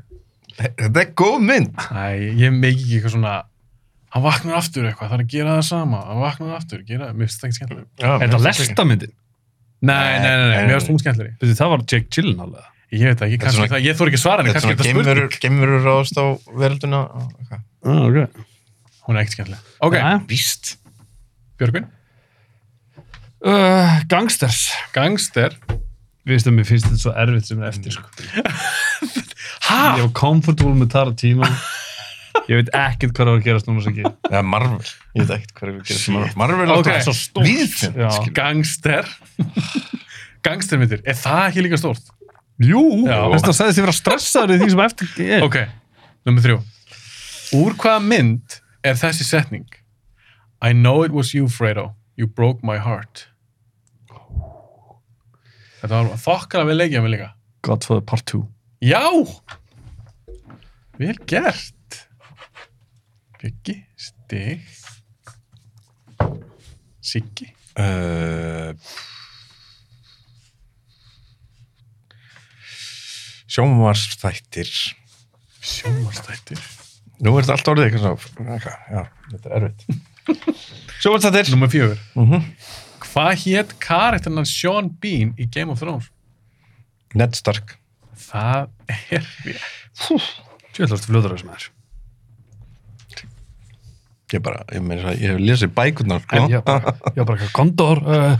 Þetta er góð mynd. Æ, ég meiki ekki eitthvað svona... Hann vaknar aftur eitthvað, það er að gera það sama. Hann vaknar aftur, gera það. Mér finnst það ekki skemmtileg. Já, Er þetta lestamyndin? Nei, nei, nei, nei, mér finnst hún skemmtilegri. Veitir, það var Jake Gyllenhaal eða? Ég veit það Þetta ekki, er kannski svona- það, ég þór ekki að svara henni, Þetta er svona kannski þetta spurning. geimverur, geimverur ráðast á verölduna. og eitthvað. Ah, ok. Hún er ekkert skemmtileg. Ok, Víst. Björgvin, Uh, gangsters. gangster. Við veistum að mér finnst þetta svo erfitt sem er eftir, sko. Hæ? Ég var comfortable með Tara tíma. Ég veit ekkert hvað það var að gerast núna sem ekki. Eða Marvel. Ég veit ekkert hvað er við gerum sem Marvel. Marvel er Ok. alltaf svo stórt. Víðfinn. Já. Gangster. Gangstermyndir, er það ekki líka stórt? Jú, Já. þess að sagðist ég vera stressaður í því sem eftir er. Ok, nummer þrjú. Úr hvaða mynd er þessi setning? I know it was you, Fredo. You broke my heart. Þetta var þokkar að við leikja mig líka. Godfather Part 2. Já! Vel gert. Byggi, stig. Siggi. Uh, sjónvarsþættir Sjómarstættir. nú er þetta allt orðið eitthvað svona eitthvað, já, þetta er erfitt sjónvarsþættir Númer fjögur. mm Hvað hétt karakternan Sean Bean í Game of Thrones? Ned Stark Það er við. Sjöldast fljóður þessum er. ég bara, ég meina það, ég hef lesið bækurnar sko. En ég var bara, ég var bara eitthvað kondor. Uh,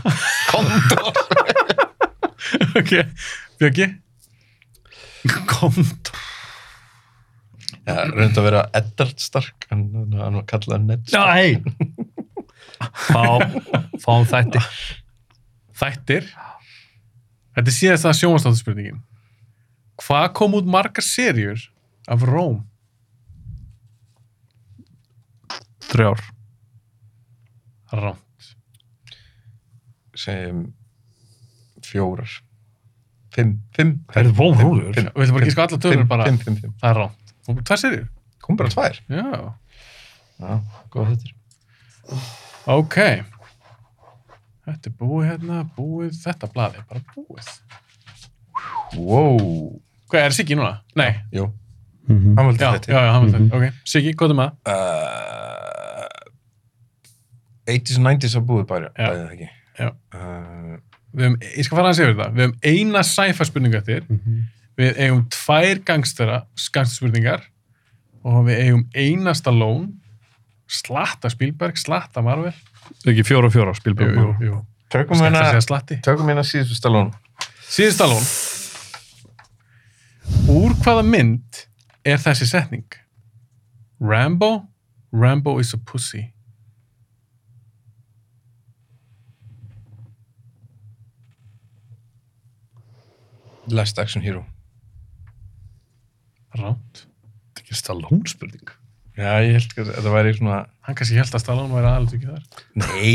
ok, Björki. Komt. já, reyndi að vera Eddard Stark en en hann var kallað Ned Stark Nei! Fá, fáum þætti. Þættir. Þetta er síðast að sjómarstættarspurningin. Hvað kom út margar serjur af Róm? Þrjár. Róm. segjum fjórar fimm, fimm Er það vón rúður? Fimm. Viltu bara gíska alla sko tölur fimm, bara? fimm, fimm, fimm. Það er Róm. Þú búið tvær serjur? kom bara tvær Já. já, góð þetta Ok. Þetta er búið hérna, búið þetta blaði, bara búið. wow, Hvað er Siggi núna? Nei. jú, Mm hann Já, valdi já, þetta já, hann var Mhm. þetta. Ok. Siggi, hvað er maður? uh, 80s og 90s að búið bara Já. bæðið ekki Já. Uh, Við höfum, ég skal fara að segja þetta. Við höfum eina sci-fi spurningu eftir. -hmm. Við eigum tvær gangstara, gangstaspurningar og við eigum eina Stallone, slatta Spielberg, slatta Marvel. Ekki fjóra og fjóra spilbjörn. jú. tökum Skemmt að hérna segja slatti. tökum hérna síðustu Stallone Síðan Stallone. Úr hvaða mynd er þessi setning? Rambo? Rambo is a pussy. Last Action Hero Ránt. Þetta er ekki Stallone spurning. já, ég held sko að þetta væri svona Hann kannski held að Stallone væri aðalut ekki þar. nei,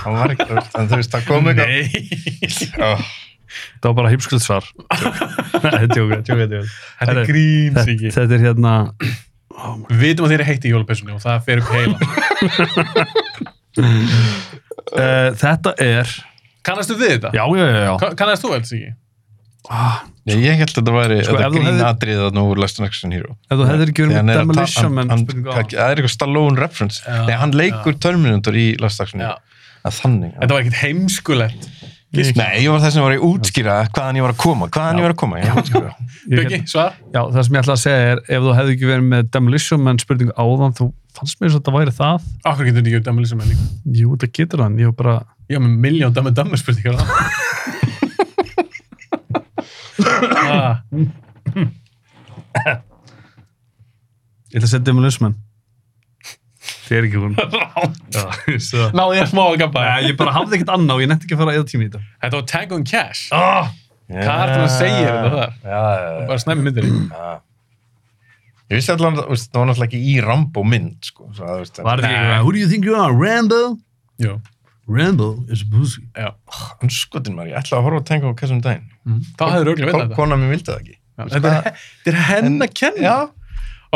hann var ekki en þú veist, það kom hérna. eitthvað Nei. oh, Það var bara heimskuld svar. Nei, tjóka, tjóka, tjóka. Þetta Herre, er gríns Þetta, ekki. þetta er hérna... Við vitum að þeir eru heitt í jólapessunni og það fer upp heila. Uh, þetta er... Kannastu þið þetta? Já, já, já, já. Ka- Kannast þú helst ekki? Ah, Já, ég held að þetta væri Sko, þetta ef þú grín hefðir- atriðið að nú úr Last Action Hero ef þú hefðir ekki verið Þegar hann er að með ta- Demolition Man hann- spurningu á. hann- um Það er eitthvað Stallone reference Já, Nei, hann leikur Terminator í Last Action Hero að Þannig já. Þetta var ekkert heimskulegt. Nei, ég var það sem var að útskýra hvaðan ég var að koma Hvaðan ég var að koma ég var að útskýra. Ég Byggi, get- svar? Já, það sem ég ætla að segja er ef þú hefði ekki verið með Demolition Man spurningu áðan þú fannst mér svo að þetta væri það Akkur getur ekki dæmi lýsum en líka. Jú, þetta getur hann, ég var bara Ég var með miljón dæmi dæmi spurningar á ah, Ég ætla að um segja Demolition Man Þið er ekki hún Já, ég sé það. Náði ég smá að gapa Nei, Ég bara hafði ekkert annað og ég nætti ekki að fara eða tími í þetta Þetta var Tango and Cash oh, Hvað ertu að segja þér þetta þar? Já, já, já, Bara snæmi myndir já. Ég vissi allan að það var náttúrulega ekki í Rambo mynd sko, svo, að, þú veist, Var þetta Nei. ekki Who do you think you are, Rambo? Jú, Rambo is a pussy já Hann skotin maður, ég ætla að horfa að tenga á hversum um daginn Þá hefur röglega Kona- veit þetta Kona mér vildi það ekki Sko, Já, Þetta er, þetta er henn að kenna Já,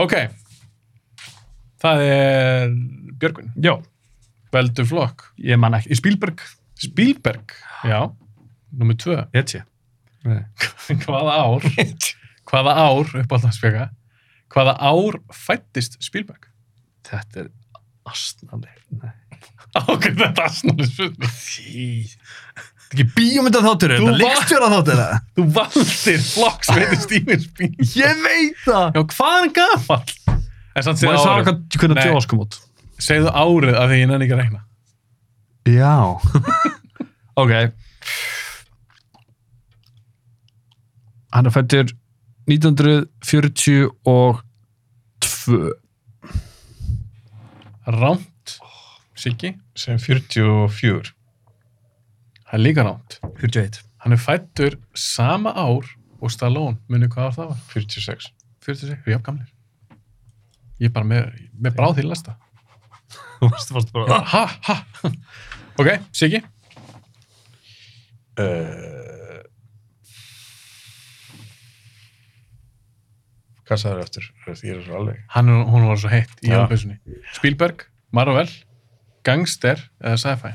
Ok Það er Björgvin Já, Veldu flokk ég man ekki, í Spielberg Spielberg Já Númer tvö Hétt ég Hvaða ár Hvaða ár uppáhaldansfjöka Hvaða ár fættist Spielberg? Þetta er astnandi Nei Ákveð þetta er snarlega spurning Þetta er ekki bíómynda þáttur, Þú þetta var- leikstjóra þáttur Þú valdir flokk sem heitir Steven Spielberg Ég veit það Já, hvað er hann gamall? En Má ég samt segðu sagði árið hvað, hvernig Nei. Jaws kom út Segðu árið af því ég nenni ekki að reyna Já Ok Hann er fættur 1942 Rámt Siggi, sem 44 það er líka rámt 41 Hann er fættur sama ár og Stallone, munið hvað ár það var 46 46, við erum gamlir Ég er bara með, með bráð til lasta Þú varst fast bara Ha, ha Ok, Siggi uh, Hvað sagður eftir? Ég er svo alveg Hann, er- hún var svo heitt í Já. jólpessunni Spielberg, Marvel, Gangster eða Sci-Fi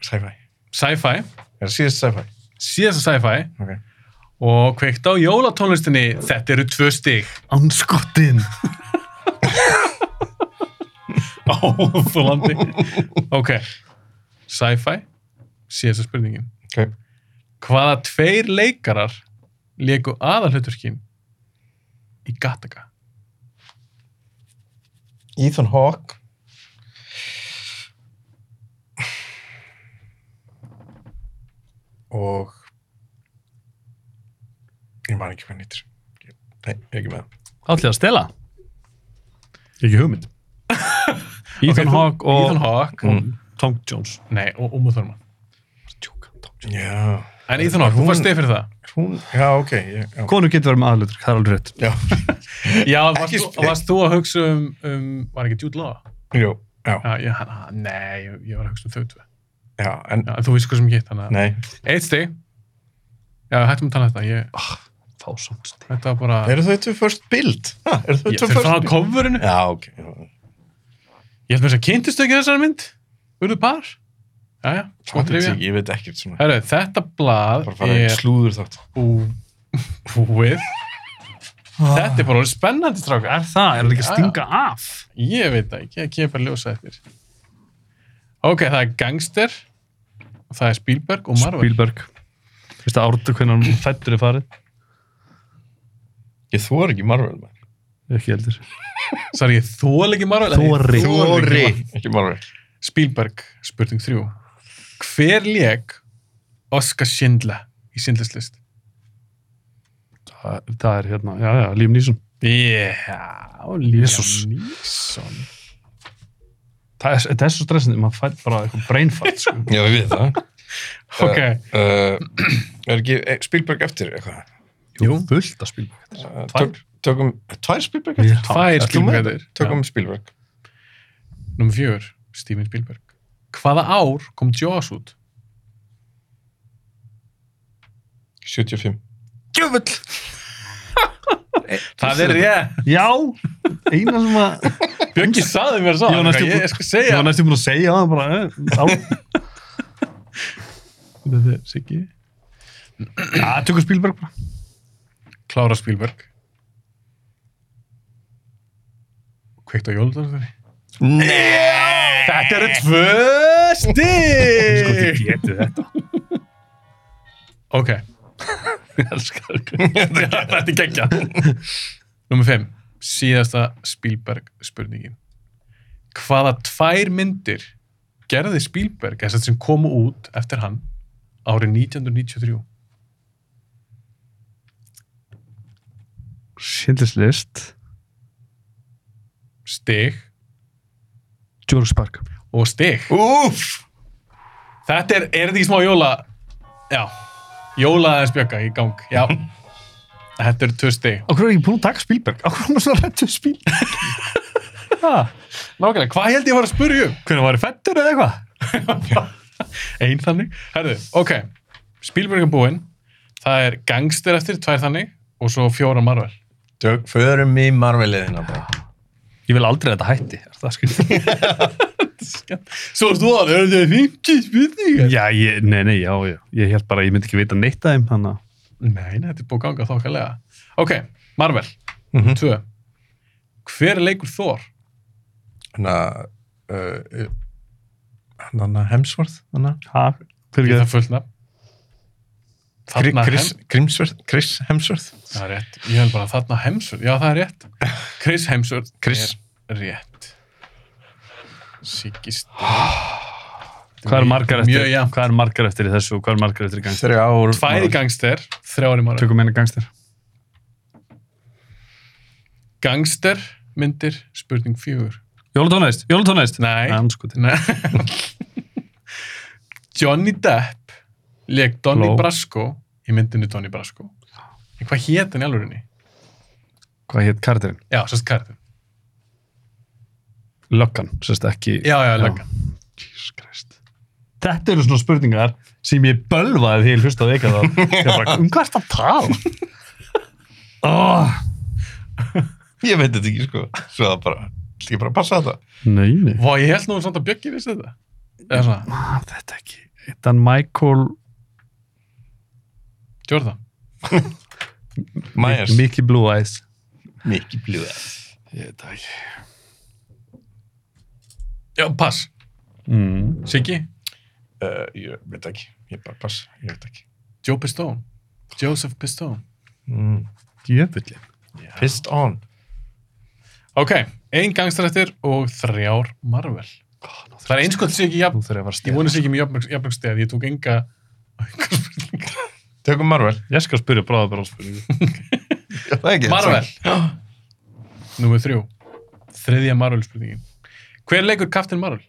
Sci-fi Sci-Fi, Er það síðast sci-fi? síðasta Sci-Fi Ok og kveikt á jólatónlistinni þetta eru tvö stig Anskotin áfólandi ok, sci-fi síðasta spurningin Ok hvaða tveir leikarar leiku aðalhuturkin í Gattaca Ethan Hawke og ég man ekki hvað hann nýttir Nei, ég er ekki með hann Allir að stela Ekki hugmynd Ethan Ok, þú- Hawke og Mm. Ethan Hawke Tom Jones nei, og Umu Thurman Tjóka, Tom Jones Já, En Ethan Hawke, þú Hún- fannst þig fyrir það? Hún, já, ok. Ég, já. Konur getur verið með aðlutur, það er alveg rétt. Já, Já, varst, Ekki þú, spil. varst þú að hugsa um, um var ekki Jude Law? jú, já, Já, ég, hann, hann, nei, ég, ég var að hugsa um þau tvö. já, en, Já, en þú veist hvað sem ég hitt, þannig að... nei. Eitt stig. Já, hættum að tala um þetta. Ég, Fásamt. þetta var bara... Eru þau tvö first build? Ha, Eru þau Ég tvö fyrir first það á build? coverinu. Já, ok. já. Ég held með þess að kynntist þau ekki þessari mynd. Urðu par. Já, já, Ég sko veit trivja. ekki, Ég veit ekkert svona. Herru, þetta blað Bara fara í er slúður þátt. bú, búið. Þetta er bara orðið spennandi, strákar. Er það? Er það ekki að Já, já. stinga af? Ég veit það ekki, ekki ég bara ljósa eftir. Ok, það er Gangster, og það er Spielberg og Marvel. Spielberg. Veist það ártu hvernig hann fættur er farið? Ég þor ekki Marvel, maður. Ekki heldur. Sorry, ég þól ekki Marvel. en ég Þori. þoli ekki Marvel. Ekki Marvel. Spielberg, spurning þrjú. Hver leik Oscar Schindler í Schindlers list? Það, það er hérna, já, já, Liam Neeson. Já, Liam Jesus. Neeson. Það er, það er svo stressandi, maður fær bara eitthvað brain fart, sko. Já, við veit það. Ok, Uh, er ekki eh, Spielberg eftir eitthvað? Jú. fullt að Spielberg. Uh, Tvær. tök- Tökum, tvær Spielberg Já. eftir? tvær Ert þú með Spielberg. þetta? Tökum Spielberg. Númer fjör, Steven Spielberg. Hvaða ár kom Jaws út? 75. Gjöfull! Það er rétt. Já, eina sem að... Björki saði mér svo. Ég var næstum Ég, búinn- ég skal Ég segja. var næstum búin að segja það bara, eh, þá. Þetta er Siggi. Já, tökum Spielberg bara. Klára Spielberg. Kveikt á jóludarstöðinni. Nei! Þetta eru tvö stig! getur þetta. ok, Ég elskar það. þetta er geggja. Númer 5. Síðasta Spielberg spurningin. Hvaða tvær myndir gerði Spielberg þess að sem komu út eftir hann árið 1993? Schindlerslist. Stig George Spark. og stig. Úf! Þetta er, er þetta í smá jóla Já, jóla aðeins bjögga í gang Já Þetta eru tvö stig Okkur er ég búin að taka Spielberg? Okkur er hann svona réttu Spielberg? Nákvæmlega, hvað held ég var að spurja um? Hvernig var ég fættur eða eitthvað? Einn þannig Herðu, ok Spielberg er búinn Það er gangster eftir, tvær þannig Og svo fjóra marvel Tök, förum í Marveliðina bara. Ég vil aldrei að þetta hætti, er það skrið? Svo erst þú að það eru 50 spurningar já, ég, nei, nei, já, já. Ég held bara að ég myndi ekki vita neitt af þeim, þannig að... Nei, nei, þetta er búið að ganga þokkalega Ok, marvel, Mm -hmm. tvö Hver leikur Thor? Hanna, uh, hanna Hemsworth, hanna? Hæ? Fyrir Ég ekki það fullt nafn Þarna Chris, Grimsworth, Chris Hemsworth? Það er rétt. Ég held bara að þarna Hemsworth. Já, það er rétt. Chris Hemsworth Chris. er rétt. Siggi Steinn. Hvað er margar eftir? Mjög jafn. Hvað er margar eftir í þessu og hvað er margar eftir í gangster? Þeirri ár... Tvær í gangster, þrjár í margar. Tökum einu gangster. Gangster myndir, spurning fjögur. Jólatónæðist, jólatónæðist. Nei. Anskutin. Nei. Johnny Depp leik Donnie Bló. Brasco í myndinu Donnie Brasco. En hvað hét hann í alvörinni? Hvað hétt kardirinn? Já, sérst kærtin. Löggan, sérst ekki... Já, já, löggan. Jesus Christ. Þetta eru svona spurningar sem ég bölvaði því ég hlustaði ekki að það. Ég bara, um hvað er þetta að tala? Oh, Ég veit þetta ekki, sko. Svo það bara, ég bara passa þetta. nei, nei. Vá, ég held nú samt að Bjöggi vissi þetta. Eða svona, Man Ah, þetta ekki. Þetta er Michael Jordan. Myers. Mickey Blue Eyes. Mikið blíða. Ég veit það ekki. Já, pass. Mm. Siggi? Uh, ég veit ekki, ég bara passa, ég veit ekki. Joe Pistone Joseph Pistone Mm. Jöfullin. Pissed on. ok, ein gangstrættir og þrjár Marvel það er einskott sér ekki Nú jafn þurfið að vara ég stið. vona sér ekki með jafnmörg- jafnmörg stið ég tók enga enga spurningar. Tökum Marvel. Ég skal spyrja bráða bara á spurningu. Já, það er ekki. Marvel númer þrjú þriðja Marvel spurningin hver leikur Captain Marvel?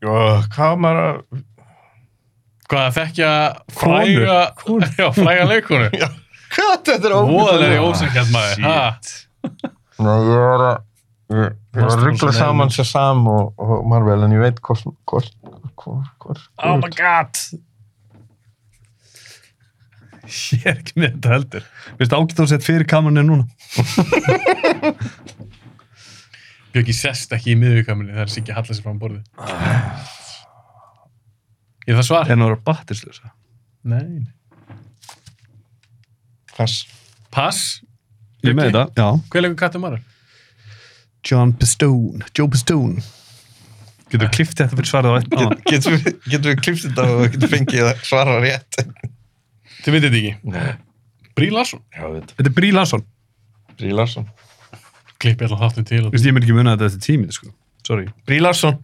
Jó, hvað var maður að... Hvað að þekkja Konur. fræga, já, fræga leikonu? Hvað, þetta er Voðalegri ógæðlega. ósækjast maður. Shit. Ha? Ég var að- ég- ég var að Monster ruggla Hunter saman Nine. Shazam og, og Marvel, en ég veit hvort, hvort, hvort, hvort. Oh my god Ég er ekki með þetta heldur Vist ágætt að setja fyrir kamerunni núna Björki sest ekki í miðvíkaminu þegar Siggi hallar sér fram á borðið. Ég það svar? En það eru battislösa Nei. Pass. Pass. Ég er með Bjöggi, þetta, já Hver leikur Katja Mara? John Pistone, Joe Pistone Getur þú kliftið þetta fyrir svarið á eitt annað? Getum við, getum við klipst þetta og getum fengið að svara rétt? Þið veitir þetta ekki. Nei, Brí Larsson. já, þetta. Þetta er Brí Larsson Brí Larsson. Klippið allan þáttum til. Vist, Ég mér ekki muna að þetta er tímið, sko Sorry Brí Larsson.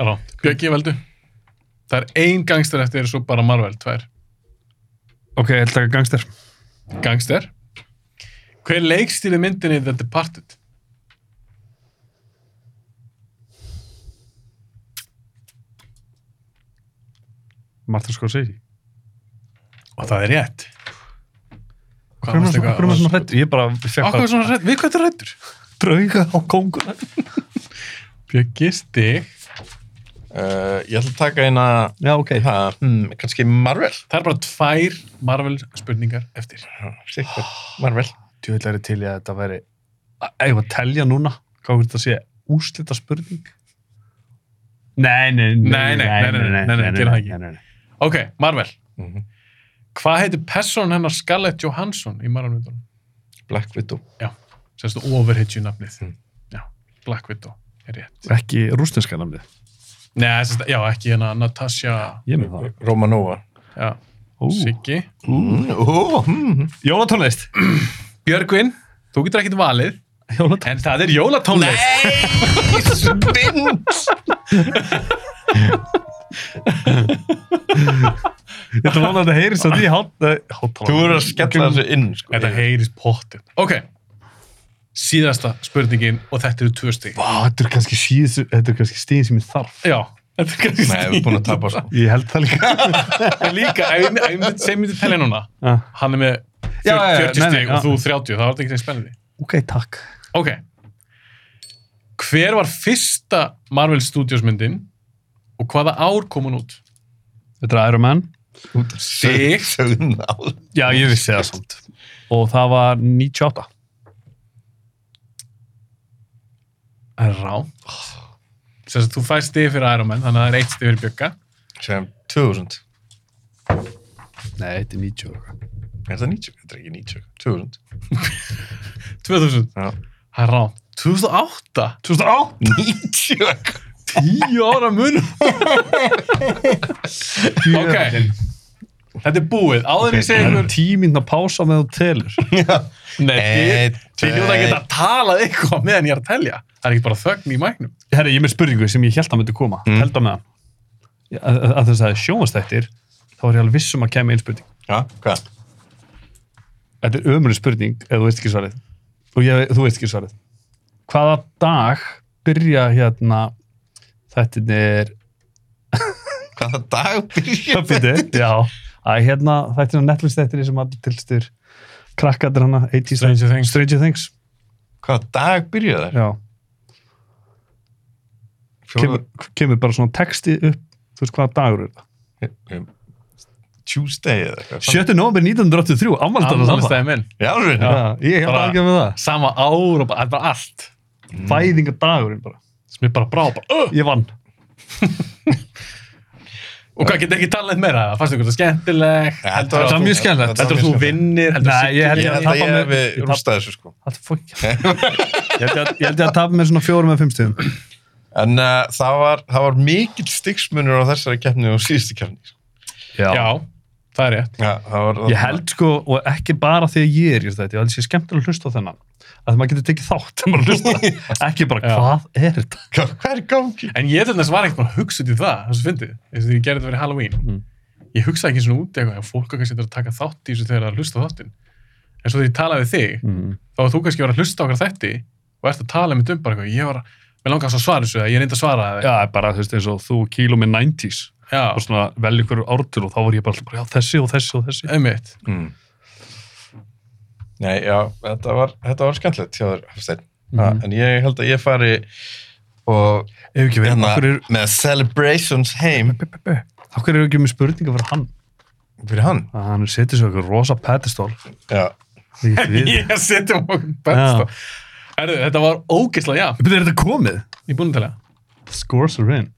Alá. Björki, veldu. Það er ein gangster eftir og svo bara Marvel, tvær. Ok, ég held að gangster Gangster. Hver leikstýri myndinni The Departed? Martha Scorsese Og það er rétt. Hvað Hvað er varstu maður eitthvað- svona, svona hrættur? Ég bara Á, fekk hvað er svona hrætt? Við hvað þetta rættur? drauga á konguna Bjöggi stig. Uh, ég ætla að taka eina, Já, ok ha, hmm, kannski Marvel. Það er bara tvær Marvel spurningar eftir. Sikkert, Marvel. Tjóðlega er ég til í að þetta væri Ægum að telja núna Hvað er þetta að sé úrslita spurning? Nei, nei, Nei, nei, nei, nei, nei, nei, nei, gerum það ekki. nei, nei. Ok, Marvel. Mm Hvað heitir person hennar Scarlett Johansson í Marvel-myndunum? Black Widow. Sérstu overhitju nafnið. Mm. Já, Black Widow er rétt. Ekki rústinska namnið Nei, sérstu, já, ekki hérna Natasha. Ég með það Romanova. Já, Ó, Siggi. Mm, ó, hmm. Jólatónlist Björgvin, þú getur ekkit valið, Jólatónlist en það er jólatónlist. Nei, spind! Ég ætla að vona að þetta heyrist að því hát Hátála Þú verður að skella þessu inn, sko. Þetta heyris pottir. Ok, síðasta spurningin og þetta eru tvö stig. Vá, þetta er kannski síðustu Þetta er kannski stíðin sem ég þarf Já, þetta er kannski Nei, við erum búin að tapa, sko. Ég held það líka En líka, ef ég- ef ég myndi- sem ég myndi telja núna, Ah, hann er með Já, já, já, 40 nei, nei, stig og já. þú 30, það var þetta ekki spennandi. Ok, takk Ok. Hver var fyrsta Marvel Studios myndin og hvaða ár kom hún út? Þetta er Iron Man Sig. Sögðum áður. Já, ég vissi það samt Og það var 98 Það er rá. Sess að þú fæst stig fyrir Iron Man, þannig að það er eitt stig fyrir Bjögga. Sem 2000. Nei, þetta er 90 og eitthvað. Er það 90? Þetta er ekki 90. 2000. 2000. Já. Það er rá. 2008? 2008 90? 10 ára mun. ok. Þetta er búið. Áður en ég segi Það er ykkur. tíminn að pása með þú telur. Eh, Nei, þið- Einn, þið hljóta að tveir. geta talað eitthvað meðan ég er að telja. Það er ekki bara þögn í mæknum. Herri, ég er með spurningu sem ég held að myndi koma. Mm. Mm. Held að með hann. Ég- Að, að- að þess að það er sjónvastættir, þá er ég alveg viss um að kemja einn spurning. Já, hvað? Þetta er ömurinn spurning ef þú veist ekki svarið. Og ég, þú veist ekki svarið. Hvaða dag byrja hérna þetta er... Hvaða dag byrja? Það byrja, já. Að hérna þetta er Netflix þættir sem allir tilstur krakkaður hana, 80s Stranger Things. Stranger Things. Hvaða dag byrja þær? Já. kemur, kemur bara svona texti upp þú veist hvaða dagur er það Kemur. Tuesday eða eitthvað. 7. november 1983, ámaldar að það Ammalstæði minn. Já, alveg. Já, ég hef Bara- ekki með það Sama ár og bara, þetta er bara allt. fæðingadagurinn Mm. bara sem er bara brá bara, "Ugh!" ég vann og hvað getur ekki talað meira það fannst ykkur það skemmtilegt Ja, heldur þetta að var þú- mjög skemmtilegt. heldur Þetta var að þú mjög vinnir heldur að Nei, ég held Ég ég held tapa að ég með- hefði ég tapa- rústað þessu sko. Það fór ekki- ég held ég að- ég held ég að tapa með svona fjórum eða fimm stíðum En uh, það, var, það var mikill stigsmunur á þessari keppni og síðustu keppni. sko. já, það er rétt Já, það var, ég held sko, og ekki bara þegar ég er í þetta, ég held ég skemmtilega að hlusta á þennan að maður getur tekið þátt þegar maður hlusta ekki bara Já. hvað er þetta Hvað hvað er í gangi? en ég til þess var ekkert búin að hugsa út í það það sem fyndið, eins og því ég gerði þetta fyrir Halloween Mm. ég hugsaði ekki svona út í eitthvað en fólk er kannski þetta að taka þátt í þessu þegar það er að hlusta á þáttin en svo þegar ég talaði við þig mm. þá var þú kannski að vera að hlusta á okkar þætti og ert að tala um með dum bara eitthvað ég var, mér langar svo að svara þessu eða ég reyndi að svara það já, bara þú veist eins og þú kílum með 90s já, og svona vel ykkur ártur og þá var ég bara, alltaf bara já, þessi og þessi og þessi einmitt. Mm. Nei, já, þetta var, þetta var skemmtilegt hjá þér, Hafsteinn. Mm. En ég held að ég fari og Ef ekki verið, hérna, af hverju er- með celebrations heim af hverju eru ekki með spurninga fyrir hann? fyrir hann. Að hann setur svo ykkur rosa pedestól Já, Ég get við. Ég setja um okkur besta. Erðu, þetta var ógeðslega jafn. Byrju, Er þetta komið? Ég er búinn til það. Scores are in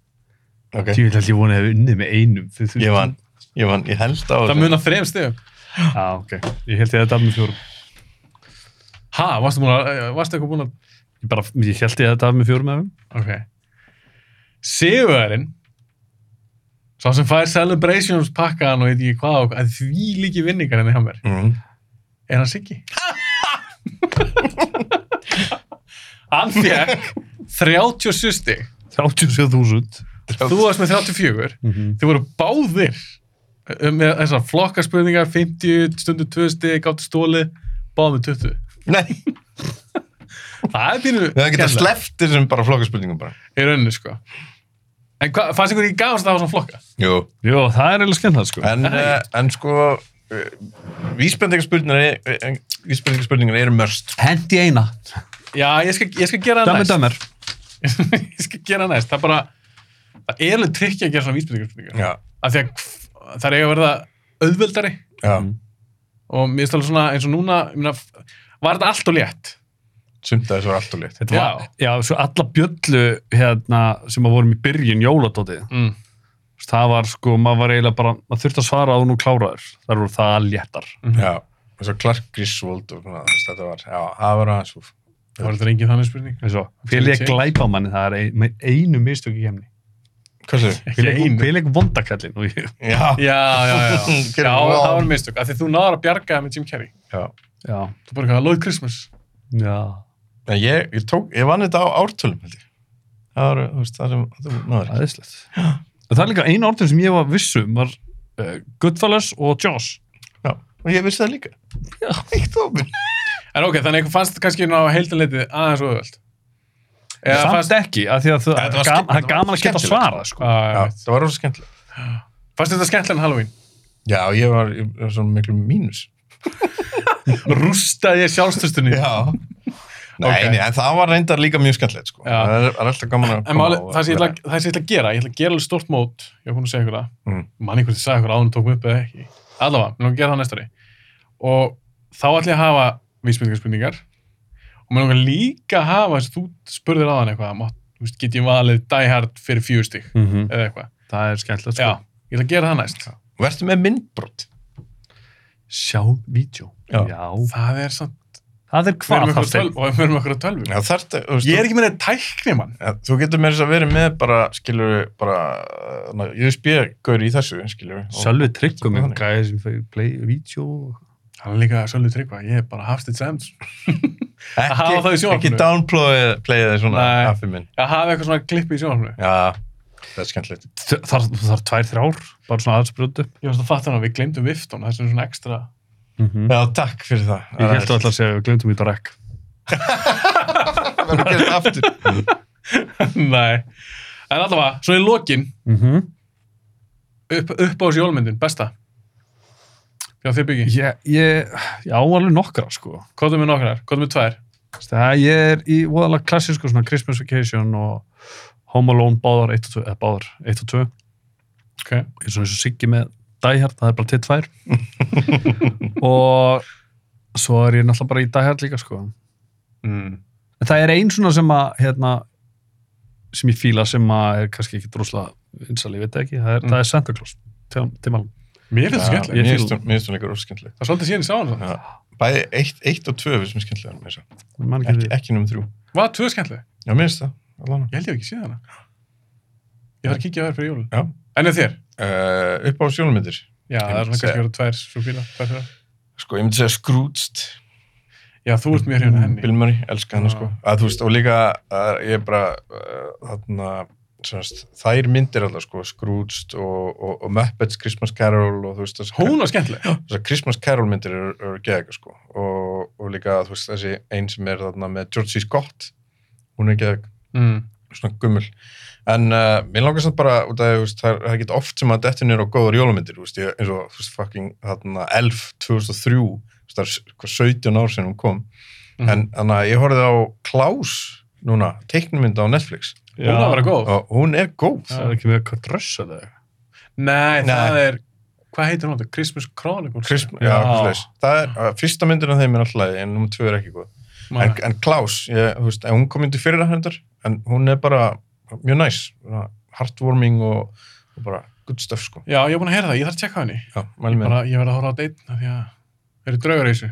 ok. Ég held ég vonið að við unnið með einum Þið þurfið- Ég vann, ég vann, ég held á Það munar þrem stegum. Já, ok Ég held ég að þetta af með fjórum Ha, varstu, búin að, eh, varstu eitthvað búin að... Ég, bara, ég held ég að þetta af með fjórum efum Ok. Sigurðarinn, sá sem fær celebrations pakkaðan og veit ekki hvað og að því líki vinningar henni hjá mér. Mm. Er hann Siggi? hann fekk 37 stig. 37.000 Þú varst með 34. Mhm. Þið voru báðir eh, með þessar flokkarspurningar, 50, stundu 2 stig, gáttu stóli, báð með 20. Nei, Það er pínu... við hefum getað skemmtilegt. sleppt þessum bara flokkaspurningum bara. í rauninni sko en hva, fannst ykkur ekki gafast að hafa svona flokka? Jú. Jó, það er eiginlega skemmt það sko En, uh, en sko, uh, vísbendingarspurningar, eh, vísbendingarspurningar eru mörst. Hendi eina já ég skal, ég skal gera það Dömmir, næst dömmir ég skal gera það næst það er bara það er alveg trikki að gera svona vísbyrðingar Já, af því að hv- það er eiga að verða auðveldari já. Mm. og mér stóð svona eins og núna ég meina, f- var þetta allt og létt Sumt að þessu var allt og lit. Þetta Já. var, já, svo alla bjöllu hérna, sem að vorum í byrjun jóladótið mm. það var sko, maður var eiginlega bara maður þurfti að svara að hún og klára þér þar voru það léttar Já, og svo Clark Griswold og svona, þú veist, þetta var, já, það var aðeins úf. það var þetta engin þannig spurning eins og, fyrir ég glæpa manni það er ein, með einu mistök í kemni Hvað séu? Ekki einu. fyrir ég vondakallin og ég, Já, já, já, já, já. já Gerðu það vá. var mistök af því þú náður að bjarga með Jim Carrey já. já, þú bara eitthvað Lloyd Christmas já En ég, ég tók, ég vann þetta á ártölum, held ég. Það var, þú veist, það sem, þú náður. aðeinslegt það er líka einu orðin sem ég var vissum var uh, Goodfellas og Jaws Já, og ég vissi það líka. Já, eitt ofin. en ok, þannig að ykkur fannst kannski ná heildanleitið aðeins og auðveld eða samt fannst Ah, ekki, af því að það Þetta var það er gam- skemmt- það er gaman að geta skemmtilegt. svara sko. Já, Já, það var rosa skemmtilega. Fannst þetta skemmtilega en Halloween? Já, ég var, ég var svona miklu mínus. Rústaði ég sjálfstöstunni? Já. Nei, Ok. nei, en það var reyndar líka mjög skemmtilegt, sko. Já. Það er, það er alltaf gaman að En máli, og- það sem ég ætla að- það sem ég ætla að gera, ég ætla að gera alveg stórt mót, ég var búin að segja ykkur það, Mm. mann ykkur sem sagði ykkur áðun tókum upp eða ekki. Allavega, mér langar að gera það næstari. Og þá ætla ég að hafa vísmyndingarspurningar og mér langar líka að hafa, þess að þú spurðir áðan eitthvað, mátt, þú veist, get ég valið Die Hard fyrir fjögur stík Mhm. eða eitthvað. það er skemmtilegt Já, sko. ég ætla að gera það næst. Vertu með myndbrot. sjá vídeo Já. Það er samt, það er við erum hvað ykkur það tölv, og við erum ykkur tölvu. Já, þarft, þú veist, Ég er ekki með þetta tækni, mann. Ja, þú getur með þess að vera með bara, skilur við, bara, na, USB-gaur í þessu, skilur við. Sölvi tryggum Þannig. einhvern gæði sem fyrir play, vídeo Hann er líka Sölvi Tryggva, ég er bara Hafsteinn Sæms. að hafa það í Ekki, sjónvarpinu. ekki downplayið svona, Nei. affi minn. að hafa eitthvað svona klippi í sjónarhunu. Já, það er skemmtilegt. þar, þar tvær, þrjár, bara svona aðsprjótu Ég var svona að fatta hann að við glemdum viftun, það er svona svona ekstra... mm -hmm. Já, takk fyrir það. ég held alltaf að segja, við glemdum í drekk Það verður að gera þetta aftur. Mm. Nei. En allavega, svona í lokin, mm -hmm. upp, upp á þessu jólmyndin, besta. Já, þið byggi. ég, ég, ég á alveg nokkra sko. Kóðum við nokkrar, kóðum við tvær. það ég er í voðalega klassísku svona Christmas Vacation og Home Alone báðar 1 og 2, eða báðar 1 og 2 Ok. eins og eins og Siggi með Die Hard, það er bara til tvær og svo er ég náttúrulega bara í Die Hard líka sko. Mm. En það er ein svona sem að hérna, sem ég fíla sem að er kannski ekki drosla vinsal, ég veit það ekki, það er, Mm. það er Santa Claus til, til málum. Mér finnst Já, það skemmtilega. Mér ég fíl- finnst hún- mér finnst hún líka rosa skemmtileg. Það er svolítið síðan ég sá hann svona. Já. Bæði eitt, eitt og tvö finnst mér skemmtilegar, mér finnst það. Ég man Ekki, Ekki, ekki nummer þrjú. Hvað, tvö skemmtilega? Já, mér finnst það. allan. Ég held ég hef ekki síðan hana. Ég þarf að kíkja á þær fyrir jólun. Já. En ef þér? Uh, upp á sjónumyndir. Já, það er myndi svona kannski segja- verið tvær svo fíla, tvær fyrir. Sko, ég myndi segja Scrooged. Já, þú ert mér hérna henni. Mm. Bill Murray, elska hana Já. sko að, þú veist, og líka að ég er bara uh, þarna, semst, þær myndir alltaf sko, Scrooged og, og, og Muppets Christmas Carol og þú veist þessar- Hún var skemmtileg. þessar Christmas Carol myndir eru, eru geðega sko og, og líka þú veist þessi einn sem er þarna með George C. Scott hún er geðeg Mm. svona gummul en uh, mér langar samt bara út af því, þú veist, það er- það er ekkert oft sem að dettin er á góður jólamyndir þú veist, ég, eins og þú veist, fucking þarna, Elf 2003 þú veist, það er s- hvað, 17 ár sem hún kom Mhm. en þannig að ég horfði á Klaus núna, teiknumynda á Netflix Hún var að vera góð. og hún er góð Það er ekki með að drössa þau. Nei, það Nei. er, hvað heitir hún þetta? Christmas Chronicles? Krisp, já, Já. já. það er, að fyrsta myndin af þeim er alltaf leið, en nummer 2 er ekki góð en, Maður- en Klaus, ég, þú veist, en hún kom inn til fyrir hendar, en hún er bara mjög næs, svona heartwarming og, og bara good stuff sko Já, ég er búin að heyra það, ég þarf að tjekka á henni. já, mæli með Bara, ég verð að horfa á deitn af því að eru draugur í þessu.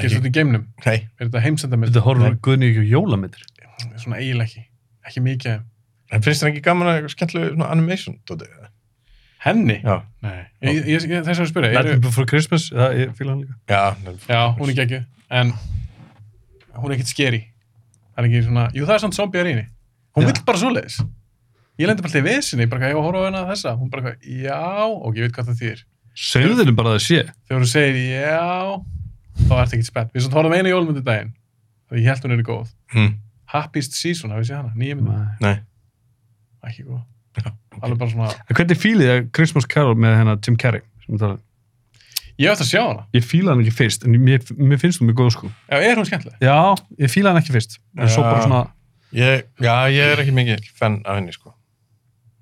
Gerst Ekki. þetta í geimnum? Nei, Er þetta heimsendamind? Þetta horfður Guðni ekki á jólamyndir. Svona eiginlega ekki. Ekki mikið. af þeim. en finnst þér ekki gaman að skemmtilega svona animation, Dóti? Henni? Já, Nei. Ég, ég, ég, þess að ég spyrja. Eru, Nightmare Before Christmas, það ég fíla hann líka. já, já, hún er geggjuð. En hún er ekkert skeri. Það er ekki svona, jú það er svona zombie í henni. Hún Já. vill bara svoleiðis. Ég lendi bara til vesinni, bara hvað ég var að horfa á henni að þessa. Hún bara hvað, já, og ég veit hvað það þýr. Segðinu bara að það sé. þegar þú segir já þá ertu ekkert spennt, við svona horfum einu jólmyndu um daginn og ég held hún er góð hm, Happiest Season, hafið séð hana, nýja mynd En nei ekki góð, Já, ok. alveg bara svona hvernig fílið að Christmas Carol með hennar Tim Carrey? sem við talaðum? ég ætti að sjá hana, Ég fíla hann ekki fyrst, en mér, mér finnst hún mjög góð sko. já, er hún skemmtileg Já, ég fíla hann ekki fyrst. En svo bara Já. svona, ég, Já, ég er ekki mikið fenn af henni sko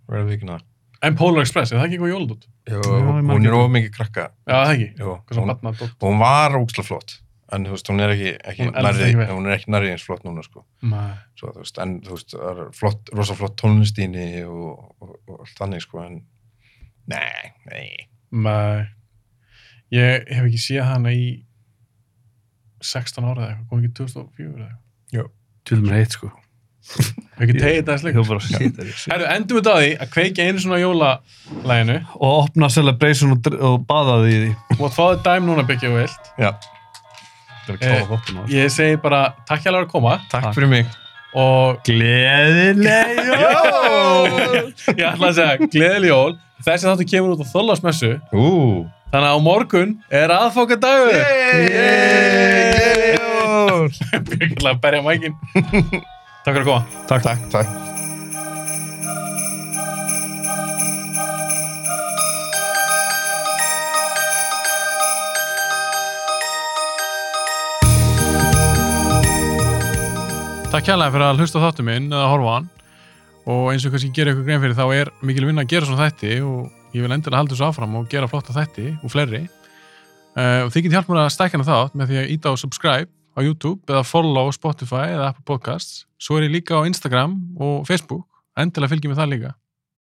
verður við ekki náða en Polar Express, er það ekki góð jóladótt? Jú, ég man hún ekki. er of mikið krakka já, það ekki, Jú, hvað svona hún, batna dótt hún var ógstlega flott en þú veist, hún er ekki, ekki Hún eldist nærri, ekki vel. hún er ekki nærri eins flott núna sko já, svo, þú veist, en þú veist, það er flott, rosa flott tónlistíni og, og, og allt þannig sko, en nei, nei ég hef ekki séð hana í 16 ára eða eitthvað, kom ekki 2004 eða eitthvað til mér heitt sko. Hef ekki Ég- tegið það Ég var slik bara shit, er ég shit. Herru, endum við það á því að kveikja einu svona jólalæginu Og opna celebration og, dr- og baða því í því. og að fá þið dæm núna byggja og vilt Já, Það er að Eh, klára þáttum á þessu. Ég segi bara takk hjá að koma takk fyrir mig og Gleðileg jól! ég ætla að segja gleðileg jól. Þessi þáttu kemur út á Þorláksmessu Ú þannig að á morgun er aðfóka dagur. Yay! Ég ætla að berja mækin. takk fyrir að koma. Takk, takk, takk Takk hérlega fyrir að hlusta á þáttu minn eða horfa á hann og eins og kannski gera ykkur grein fyrir þá er mikil vinna að gera svona þætti og ég vil endilega halda þessu áfram og gera flotta þætti og fleiri uh, og þið getið hjálp mér að stækja hana þátt með því að íta á subscribe á YouTube eða follow á Spotify eða Apple Podcasts svo er ég líka á Instagram og Facebook endilega fylgjum við það líka